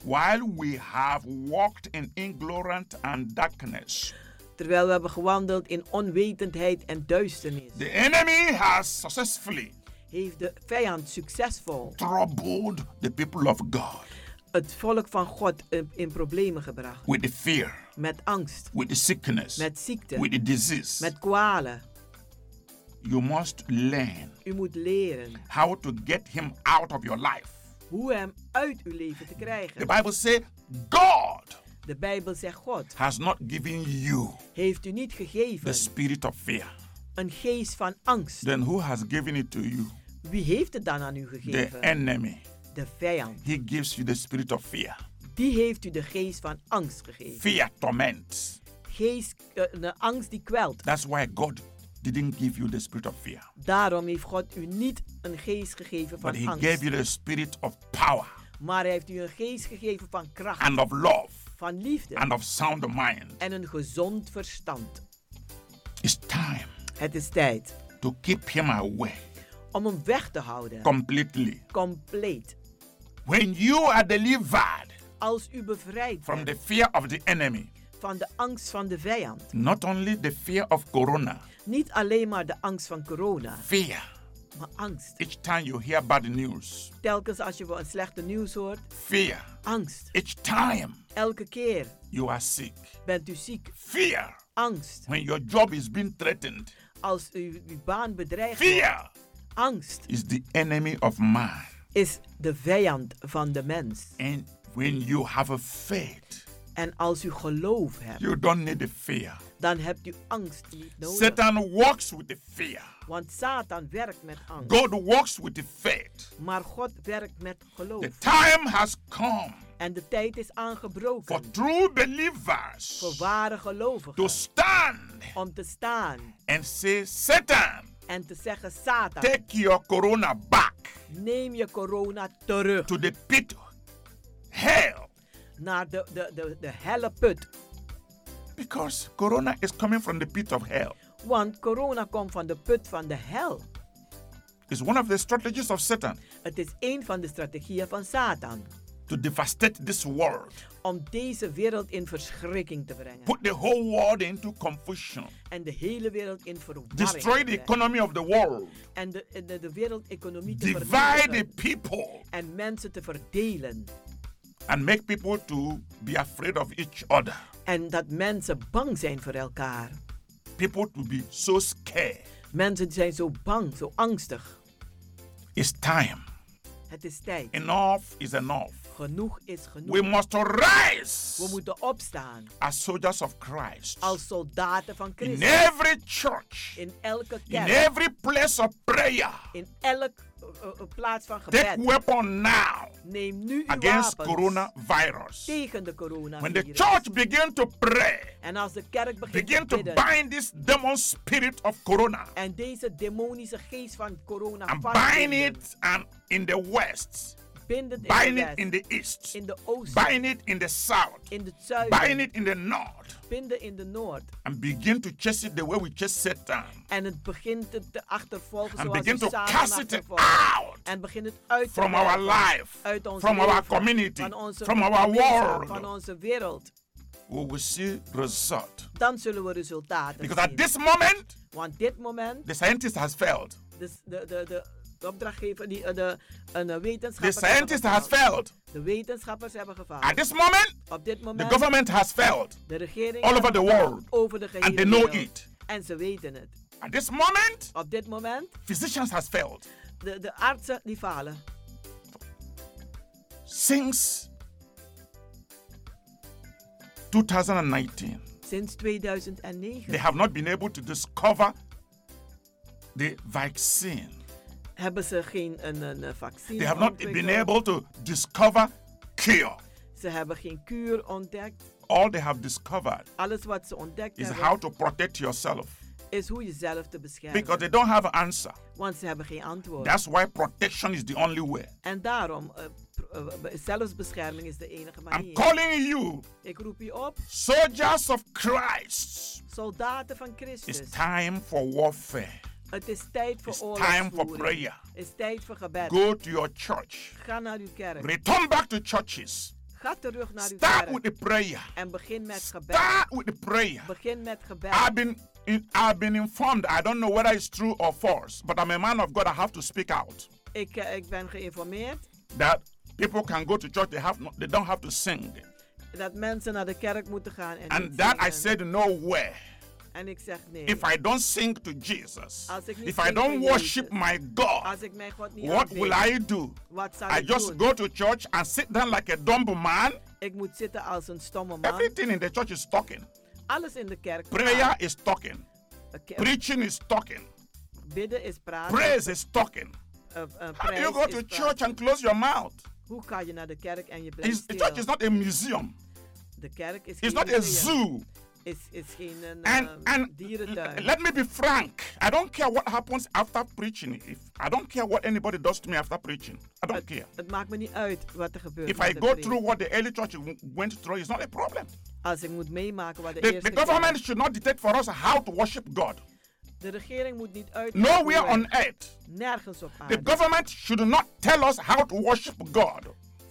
[SPEAKER 3] While we have walked in ignorance and darkness,
[SPEAKER 13] Terwijl we hebben gewandeld in onwetendheid en duisternis,
[SPEAKER 3] the enemy has successfully
[SPEAKER 13] heeft de vijand succesvol
[SPEAKER 3] troubled the people of God
[SPEAKER 13] het volk van God in, in problemen gebracht.
[SPEAKER 3] with the fear,
[SPEAKER 13] Met angst,
[SPEAKER 3] with the sickness,
[SPEAKER 13] met ziekte,
[SPEAKER 3] with the disease.
[SPEAKER 13] met kwalen.
[SPEAKER 3] You must learn
[SPEAKER 13] U moet leren
[SPEAKER 3] how to get him out of your life.
[SPEAKER 13] hoe hem uit uw leven te
[SPEAKER 3] The
[SPEAKER 13] krijgen.
[SPEAKER 3] Bible says, God
[SPEAKER 13] De Bijbel zegt God
[SPEAKER 3] has not given you
[SPEAKER 13] heeft u niet
[SPEAKER 3] the
[SPEAKER 13] gegeven
[SPEAKER 3] spirit of fear.
[SPEAKER 13] een geest van angst.
[SPEAKER 3] Then who has given it to you?
[SPEAKER 13] Wie heeft het dan aan u
[SPEAKER 3] The
[SPEAKER 13] gegeven?
[SPEAKER 3] enemy.
[SPEAKER 13] De vijand.
[SPEAKER 3] He gives you the spirit of fear.
[SPEAKER 13] Die heeft u de geest van angst gegeven.
[SPEAKER 3] Fear torments.
[SPEAKER 13] Geest, eh, een angst die kwelt.
[SPEAKER 3] That's why God didn't give you the spirit of fear,
[SPEAKER 13] Daarom heeft God u niet een geest
[SPEAKER 3] but
[SPEAKER 13] gegeven van
[SPEAKER 3] He gave
[SPEAKER 13] angst.
[SPEAKER 3] you the spirit of power
[SPEAKER 13] Maar hij heeft u een geest gegeven van kracht,
[SPEAKER 3] and of love
[SPEAKER 13] van liefde
[SPEAKER 3] and of sound mind.
[SPEAKER 13] en een gezond verstand.
[SPEAKER 3] It's time
[SPEAKER 13] Het is tijd
[SPEAKER 3] to keep Him away
[SPEAKER 13] om hem weg te houden.
[SPEAKER 3] completely.
[SPEAKER 13] Compleet.
[SPEAKER 3] When you are delivered
[SPEAKER 13] Als u bevrijd
[SPEAKER 3] from the
[SPEAKER 13] bent
[SPEAKER 3] fear of the enemy,
[SPEAKER 13] van de angst van de vijand.
[SPEAKER 3] not only the fear of corona,
[SPEAKER 13] Niet alleen maar de angst van corona,
[SPEAKER 3] fear.
[SPEAKER 13] maar angst.
[SPEAKER 3] Each time you hear bad news,
[SPEAKER 13] Telkens als je wel een slechte nieuws hoort,
[SPEAKER 3] fear.
[SPEAKER 13] angst.
[SPEAKER 3] Each time
[SPEAKER 13] Elke keer
[SPEAKER 3] you are sick,
[SPEAKER 13] bent u ziek,
[SPEAKER 3] fear.
[SPEAKER 13] angst.
[SPEAKER 3] When your job is being threatened,
[SPEAKER 13] Als u uw baan bedreigt, wordt.
[SPEAKER 3] fear
[SPEAKER 13] angst
[SPEAKER 3] is the enemy of man.
[SPEAKER 13] is de vijand van de mens.
[SPEAKER 3] And when you have a faith,
[SPEAKER 13] En als u geloof hebt,
[SPEAKER 3] you don't need the fear.
[SPEAKER 13] dan hebt u angst niet nodig.
[SPEAKER 3] Satan walks with the fear.
[SPEAKER 13] Want Satan werkt met angst.
[SPEAKER 3] God walks with the faith.
[SPEAKER 13] Maar God werkt met
[SPEAKER 3] The
[SPEAKER 13] geloof.
[SPEAKER 3] time has come
[SPEAKER 13] En de tijd is
[SPEAKER 3] for
[SPEAKER 13] aangebroken
[SPEAKER 3] true
[SPEAKER 13] voor
[SPEAKER 3] believers
[SPEAKER 13] ware
[SPEAKER 3] to
[SPEAKER 13] gelovigen
[SPEAKER 3] stand
[SPEAKER 13] om te staan
[SPEAKER 3] and say, Satan,
[SPEAKER 13] en te zeggen: Satan,
[SPEAKER 3] take your corona back
[SPEAKER 13] neem je corona terug
[SPEAKER 3] to the pit, hell.
[SPEAKER 13] naar de, de, de, de helle put.
[SPEAKER 3] Because corona is coming from the pit of hell.
[SPEAKER 13] Want corona komt van de put van de hel.
[SPEAKER 3] It's one of the strategies of Satan
[SPEAKER 13] Het is een van de strategieën van Satan
[SPEAKER 3] to devastate this world,
[SPEAKER 13] om deze wereld in verschrikking te brengen
[SPEAKER 3] put the whole world into confusion,
[SPEAKER 13] en de hele wereld in verwarring te
[SPEAKER 3] destroy the
[SPEAKER 13] brengen
[SPEAKER 3] economy of the world,
[SPEAKER 13] en de, de, de wereldeconomie te
[SPEAKER 3] divide the
[SPEAKER 13] vernietigen
[SPEAKER 3] people,
[SPEAKER 13] en mensen te verdelen
[SPEAKER 3] and make people to be afraid of each other.
[SPEAKER 13] en dat mensen bang zijn voor elkaar.
[SPEAKER 3] People to be so scared.
[SPEAKER 13] Mensen zijn zo bang, zo angstig.
[SPEAKER 3] It's time.
[SPEAKER 13] Het is tijd.
[SPEAKER 3] Enough is enough.
[SPEAKER 13] Genoeg is
[SPEAKER 3] We
[SPEAKER 13] genoeg.
[SPEAKER 3] must rise
[SPEAKER 13] We moeten opstaan
[SPEAKER 3] as soldiers of Christ
[SPEAKER 13] als soldaten van
[SPEAKER 3] in
[SPEAKER 13] Christus
[SPEAKER 3] every church,
[SPEAKER 13] in elke
[SPEAKER 3] in
[SPEAKER 13] kerk,
[SPEAKER 3] every place of prayer.
[SPEAKER 13] in elk eh, eh, plaats van gebed.
[SPEAKER 1] Take weapon now
[SPEAKER 13] Neem nu uw
[SPEAKER 1] against
[SPEAKER 13] wapens
[SPEAKER 1] coronavirus.
[SPEAKER 13] tegen de corona.
[SPEAKER 1] When the church begin to pray,
[SPEAKER 13] en als de kerk begint
[SPEAKER 1] begin
[SPEAKER 13] te
[SPEAKER 1] to
[SPEAKER 13] bidden
[SPEAKER 1] bind this demon spirit of corona
[SPEAKER 13] en deze demonische geest van corona
[SPEAKER 1] and bind
[SPEAKER 13] vastbinden,
[SPEAKER 1] it and in the west,
[SPEAKER 13] bind het in
[SPEAKER 1] bind
[SPEAKER 13] de
[SPEAKER 1] it
[SPEAKER 13] west,
[SPEAKER 1] in the east,
[SPEAKER 13] in de oost,
[SPEAKER 1] bind it in the south,
[SPEAKER 13] in het zuiden,
[SPEAKER 1] bind it in the north,
[SPEAKER 13] binden in de noord.
[SPEAKER 1] and begin to chase it the way we chase Satan.
[SPEAKER 13] En het begint het te achtervolgen
[SPEAKER 1] And
[SPEAKER 13] zoals
[SPEAKER 1] begin
[SPEAKER 13] we
[SPEAKER 1] to
[SPEAKER 13] Satan
[SPEAKER 1] cast it
[SPEAKER 13] achtervolgen. En begin het uit te
[SPEAKER 1] from our
[SPEAKER 13] werpen
[SPEAKER 1] life,
[SPEAKER 13] uit ons
[SPEAKER 1] from our
[SPEAKER 13] leven,
[SPEAKER 1] community,
[SPEAKER 13] van onze
[SPEAKER 1] from our
[SPEAKER 13] gemeenschap,
[SPEAKER 1] world.
[SPEAKER 13] van onze wereld.
[SPEAKER 1] We will see result.
[SPEAKER 13] Dan zullen we resultaten
[SPEAKER 1] Because at
[SPEAKER 13] zien.
[SPEAKER 1] this moment,
[SPEAKER 13] Want dit moment
[SPEAKER 1] the scientist has failed.
[SPEAKER 13] de, de, de, de, de opdrachtgever, die, eh, de, een eh, wetenschapper.
[SPEAKER 1] The scientist has failed.
[SPEAKER 13] De wetenschappers hebben gefaald.
[SPEAKER 1] At this moment,
[SPEAKER 13] Op dit
[SPEAKER 1] the
[SPEAKER 13] moment.
[SPEAKER 1] government has failed.
[SPEAKER 13] de regering
[SPEAKER 1] all over the world.
[SPEAKER 13] over de gehele
[SPEAKER 1] And they know
[SPEAKER 13] wereld.
[SPEAKER 1] it.
[SPEAKER 13] En ze weten het.
[SPEAKER 1] At this moment,
[SPEAKER 13] Op dit moment,
[SPEAKER 1] physicians has failed.
[SPEAKER 13] de, de artsen die falen.
[SPEAKER 1] Since 2019,
[SPEAKER 13] Sinds 2009
[SPEAKER 1] they have not been able to discover the vaccine.
[SPEAKER 13] hebben ze geen een, een eh, vaccin
[SPEAKER 1] They have not been
[SPEAKER 13] ontwikkeld.
[SPEAKER 1] able to discover cure.
[SPEAKER 13] Ze hebben geen kuur ontdekt.
[SPEAKER 1] All they have discovered
[SPEAKER 13] Alles wat ze ontdekt
[SPEAKER 1] is
[SPEAKER 13] hebben,
[SPEAKER 1] how to protect yourself
[SPEAKER 13] is hoe jezelf te beschermen.
[SPEAKER 1] because they don't have answer.
[SPEAKER 13] Want ze hebben geen antwoord.
[SPEAKER 1] That's why protection is the only way.
[SPEAKER 13] En daarom, eh, pr- eh, be- zelfbescherming is de enige
[SPEAKER 1] I'm
[SPEAKER 13] manier.
[SPEAKER 1] calling you,
[SPEAKER 13] Ik roep u op,
[SPEAKER 1] soldiers of Christ.
[SPEAKER 13] soldaten van Christus.
[SPEAKER 1] It's time for warfare.
[SPEAKER 13] Het is tijd voor
[SPEAKER 1] It's time
[SPEAKER 13] oorlogsvoering.
[SPEAKER 1] for prayer.
[SPEAKER 13] Het is tijd voor gebed.
[SPEAKER 1] Go to your church.
[SPEAKER 13] Ga naar uw kerk.
[SPEAKER 1] Return back to churches.
[SPEAKER 13] Ga terug naar uw
[SPEAKER 1] Start
[SPEAKER 13] kerk.
[SPEAKER 1] with the prayer.
[SPEAKER 13] En begin met gebed.
[SPEAKER 1] Start with the prayer.
[SPEAKER 13] Begin met gebed.
[SPEAKER 1] I've been in- I've been informed. I don't know whether it's true or false, but I'm a man of God. I have to speak out
[SPEAKER 13] Ik, eh, ik ben geïnformeerd
[SPEAKER 1] that people can go to church. They have no, they don't have to sing.
[SPEAKER 13] dat mensen naar de kerk moeten gaan. En,
[SPEAKER 1] And
[SPEAKER 13] niet
[SPEAKER 1] that I
[SPEAKER 13] zingen.
[SPEAKER 1] said no way.
[SPEAKER 13] En ik zeg nee.
[SPEAKER 1] If I don't sing to Jesus,
[SPEAKER 13] Als ik niet
[SPEAKER 1] if I
[SPEAKER 13] zing
[SPEAKER 1] don't
[SPEAKER 13] voor
[SPEAKER 1] worship
[SPEAKER 13] Jezus,
[SPEAKER 1] my God,
[SPEAKER 13] Als ik mijn God niet
[SPEAKER 1] what
[SPEAKER 13] aanbid,
[SPEAKER 1] will I do?
[SPEAKER 13] Wat zal
[SPEAKER 1] I
[SPEAKER 13] ik
[SPEAKER 1] just
[SPEAKER 13] doen?
[SPEAKER 1] go to church and sit down like a dumb man.
[SPEAKER 13] Ik moet zitten als een stomme man.
[SPEAKER 1] Everything in the church is talking.
[SPEAKER 13] Alles in de kerk.
[SPEAKER 1] Prayer is talking.
[SPEAKER 13] Oké,
[SPEAKER 1] Preaching is talking.
[SPEAKER 13] Bidden is praten.
[SPEAKER 1] Praise is talking.
[SPEAKER 13] Eh, eh,
[SPEAKER 1] How do
[SPEAKER 13] prijs
[SPEAKER 1] you go
[SPEAKER 13] is
[SPEAKER 1] to
[SPEAKER 13] praten.
[SPEAKER 1] church and close your mouth?
[SPEAKER 13] Hoe ga je naar de kerk en je blijft
[SPEAKER 1] It's- the
[SPEAKER 13] stil?
[SPEAKER 1] church is not a museum.
[SPEAKER 13] de kerk is
[SPEAKER 1] It's
[SPEAKER 13] geen
[SPEAKER 1] not a
[SPEAKER 13] museum.
[SPEAKER 1] zoo.
[SPEAKER 13] Is, is geen een,
[SPEAKER 1] And
[SPEAKER 13] eh,
[SPEAKER 1] and
[SPEAKER 13] dierentuin.
[SPEAKER 1] let me be frank. I don't care what happens after preaching. If I don't care what anybody does to me after preaching, I don't care.
[SPEAKER 13] Het maakt me niet uit wat er gebeurt.
[SPEAKER 1] If
[SPEAKER 13] met
[SPEAKER 1] I
[SPEAKER 13] de
[SPEAKER 1] go
[SPEAKER 13] preek.
[SPEAKER 1] through what the early church w- went through, it's not a problem.
[SPEAKER 13] Als ik moet meemaken wat de,
[SPEAKER 1] The,
[SPEAKER 13] eerste
[SPEAKER 1] the government
[SPEAKER 13] kerk-
[SPEAKER 1] should not dictate for us how to worship God.
[SPEAKER 13] De regering moet niet uit.
[SPEAKER 1] Nowhere on earth.
[SPEAKER 13] Nergens op aarde.
[SPEAKER 1] The government should not tell us how to worship God.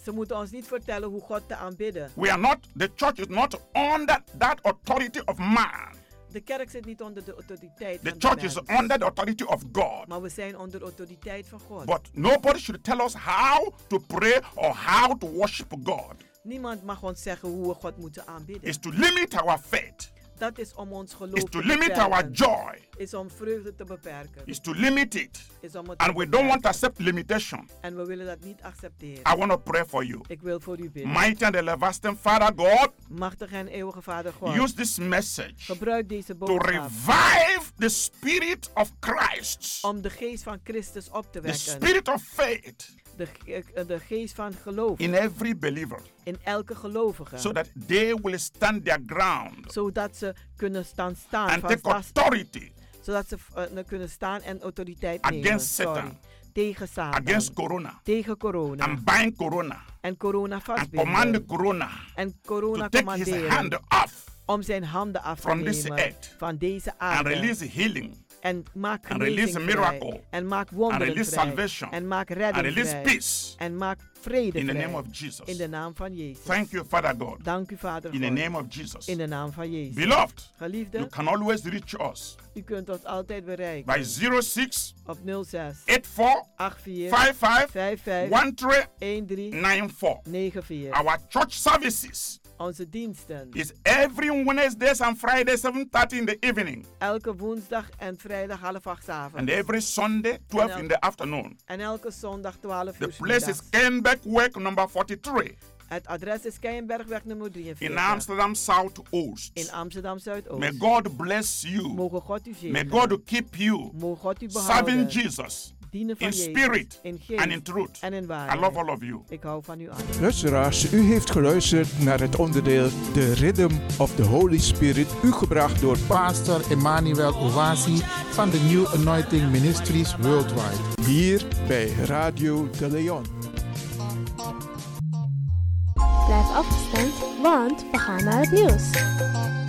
[SPEAKER 13] Ze moeten ons niet vertellen hoe God te aanbidden.
[SPEAKER 1] We are not, the church is not under that authority of man.
[SPEAKER 13] De kerk zit niet onder de autoriteit
[SPEAKER 1] The
[SPEAKER 13] van de
[SPEAKER 1] church is
[SPEAKER 13] mens.
[SPEAKER 1] under the authority of God.
[SPEAKER 13] Maar we zijn onder de autoriteit van God.
[SPEAKER 1] But nobody should tell us how to pray or how to worship God.
[SPEAKER 13] Niemand mag ons zeggen hoe we God moeten aanbidden.
[SPEAKER 1] It's to limit our faith,
[SPEAKER 13] Dat is om ons geloof
[SPEAKER 1] it's
[SPEAKER 13] te
[SPEAKER 1] to limit
[SPEAKER 13] beperken.
[SPEAKER 1] our joy,
[SPEAKER 13] Is om vreugde te beperken.
[SPEAKER 1] it's to limit it.
[SPEAKER 13] Is om het te
[SPEAKER 1] And we don't
[SPEAKER 13] beperken.
[SPEAKER 1] want to accept limitation.
[SPEAKER 13] En we willen dat niet accepteren.
[SPEAKER 1] I want to pray for you.
[SPEAKER 13] Ik wil voor u bidden.
[SPEAKER 1] Mighty and everlasting Father God,
[SPEAKER 13] Machtig en eeuwige Vader God.
[SPEAKER 1] use this message
[SPEAKER 13] gebruik deze
[SPEAKER 1] to
[SPEAKER 13] boodschap
[SPEAKER 1] revive the spirit of Christ,
[SPEAKER 13] om de geest van Christus op
[SPEAKER 1] the
[SPEAKER 13] te wekken.
[SPEAKER 1] spirit of faith
[SPEAKER 13] De, ge- eh, de geest van geloof
[SPEAKER 1] in every believer,
[SPEAKER 13] in elke gelovige.
[SPEAKER 1] so that they will stand their ground
[SPEAKER 13] zodat ze kunnen staan staan
[SPEAKER 1] and
[SPEAKER 13] van
[SPEAKER 1] take
[SPEAKER 13] vast.
[SPEAKER 1] authority
[SPEAKER 13] Zodat ze eh, kunnen staan en autoriteit nemen.
[SPEAKER 1] against
[SPEAKER 13] Sorry.
[SPEAKER 1] Satan,
[SPEAKER 13] Tegen Satan.
[SPEAKER 1] against Corona.
[SPEAKER 13] tegen corona.
[SPEAKER 1] and bind Corona
[SPEAKER 13] en corona
[SPEAKER 1] and command
[SPEAKER 13] vastbinden.
[SPEAKER 1] Corona
[SPEAKER 13] En
[SPEAKER 1] to
[SPEAKER 13] corona
[SPEAKER 1] take his hand
[SPEAKER 13] commanderen.
[SPEAKER 1] off
[SPEAKER 13] Om zijn handen af te
[SPEAKER 1] from this
[SPEAKER 13] nemen
[SPEAKER 1] earth.
[SPEAKER 13] van deze
[SPEAKER 1] and release
[SPEAKER 13] aarde.
[SPEAKER 1] healing
[SPEAKER 13] En maak
[SPEAKER 1] and release
[SPEAKER 13] genezing
[SPEAKER 1] miracle.
[SPEAKER 13] vrij. En maak wonderen
[SPEAKER 1] release
[SPEAKER 13] vrij.
[SPEAKER 1] salvation.
[SPEAKER 13] En maak
[SPEAKER 1] and
[SPEAKER 13] redding
[SPEAKER 1] release
[SPEAKER 13] vrij.
[SPEAKER 1] peace
[SPEAKER 13] En maak vrede
[SPEAKER 1] in the
[SPEAKER 13] vrij.
[SPEAKER 1] name of Jesus.
[SPEAKER 13] In de naam van Jezus.
[SPEAKER 1] Thank you, Father God,
[SPEAKER 13] Dank u, Vader.
[SPEAKER 1] in the
[SPEAKER 13] God.
[SPEAKER 1] name of Jesus.
[SPEAKER 13] In de naam van Jezus.
[SPEAKER 1] Beloved, you
[SPEAKER 13] Geliefde,
[SPEAKER 1] can always reach us
[SPEAKER 13] u kunt ons altijd bereiken
[SPEAKER 1] by 06
[SPEAKER 13] op 06
[SPEAKER 1] 84
[SPEAKER 13] 84
[SPEAKER 1] 55
[SPEAKER 13] 55
[SPEAKER 1] 1394.
[SPEAKER 13] 13 94.
[SPEAKER 1] Our church services
[SPEAKER 13] Onze diensten
[SPEAKER 1] is every Wednesdays and Fridays 7:30 in the evening
[SPEAKER 13] elke woensdag en vrijdag half acht 's avonds.
[SPEAKER 1] and every Sunday 12 in the afternoon.
[SPEAKER 13] En elke zondag 12
[SPEAKER 1] The
[SPEAKER 13] uur. 's
[SPEAKER 1] place is
[SPEAKER 13] middags.
[SPEAKER 1] Kenbeck Work number 43
[SPEAKER 13] Het adres is Keienbergweg nummer
[SPEAKER 1] in
[SPEAKER 13] 43.
[SPEAKER 1] Amsterdam Southoost.
[SPEAKER 13] In Amsterdam
[SPEAKER 1] May
[SPEAKER 13] Zuidoost.
[SPEAKER 1] God bless you.
[SPEAKER 13] Mogen God u zegenen.
[SPEAKER 1] May God keep you
[SPEAKER 13] Mogen God u
[SPEAKER 1] serving
[SPEAKER 13] behouden.
[SPEAKER 1] Jesus
[SPEAKER 13] dienen van
[SPEAKER 4] in
[SPEAKER 13] Jezus.
[SPEAKER 4] spirit
[SPEAKER 13] in geest
[SPEAKER 4] and in truth.
[SPEAKER 13] en in waarheid.
[SPEAKER 4] I love all of you.
[SPEAKER 13] Ik hou van u allen.
[SPEAKER 1] Luisteraars, u heeft geluisterd naar het onderdeel The Rhythm of the Holy Spirit, u gebracht door
[SPEAKER 3] Pastor Emmanuel Owasi van de New Anointing Ministries Worldwide.
[SPEAKER 1] hier bij Radio de Leon.
[SPEAKER 2] Blijf afgestemd, want we gaan naar het nieuws.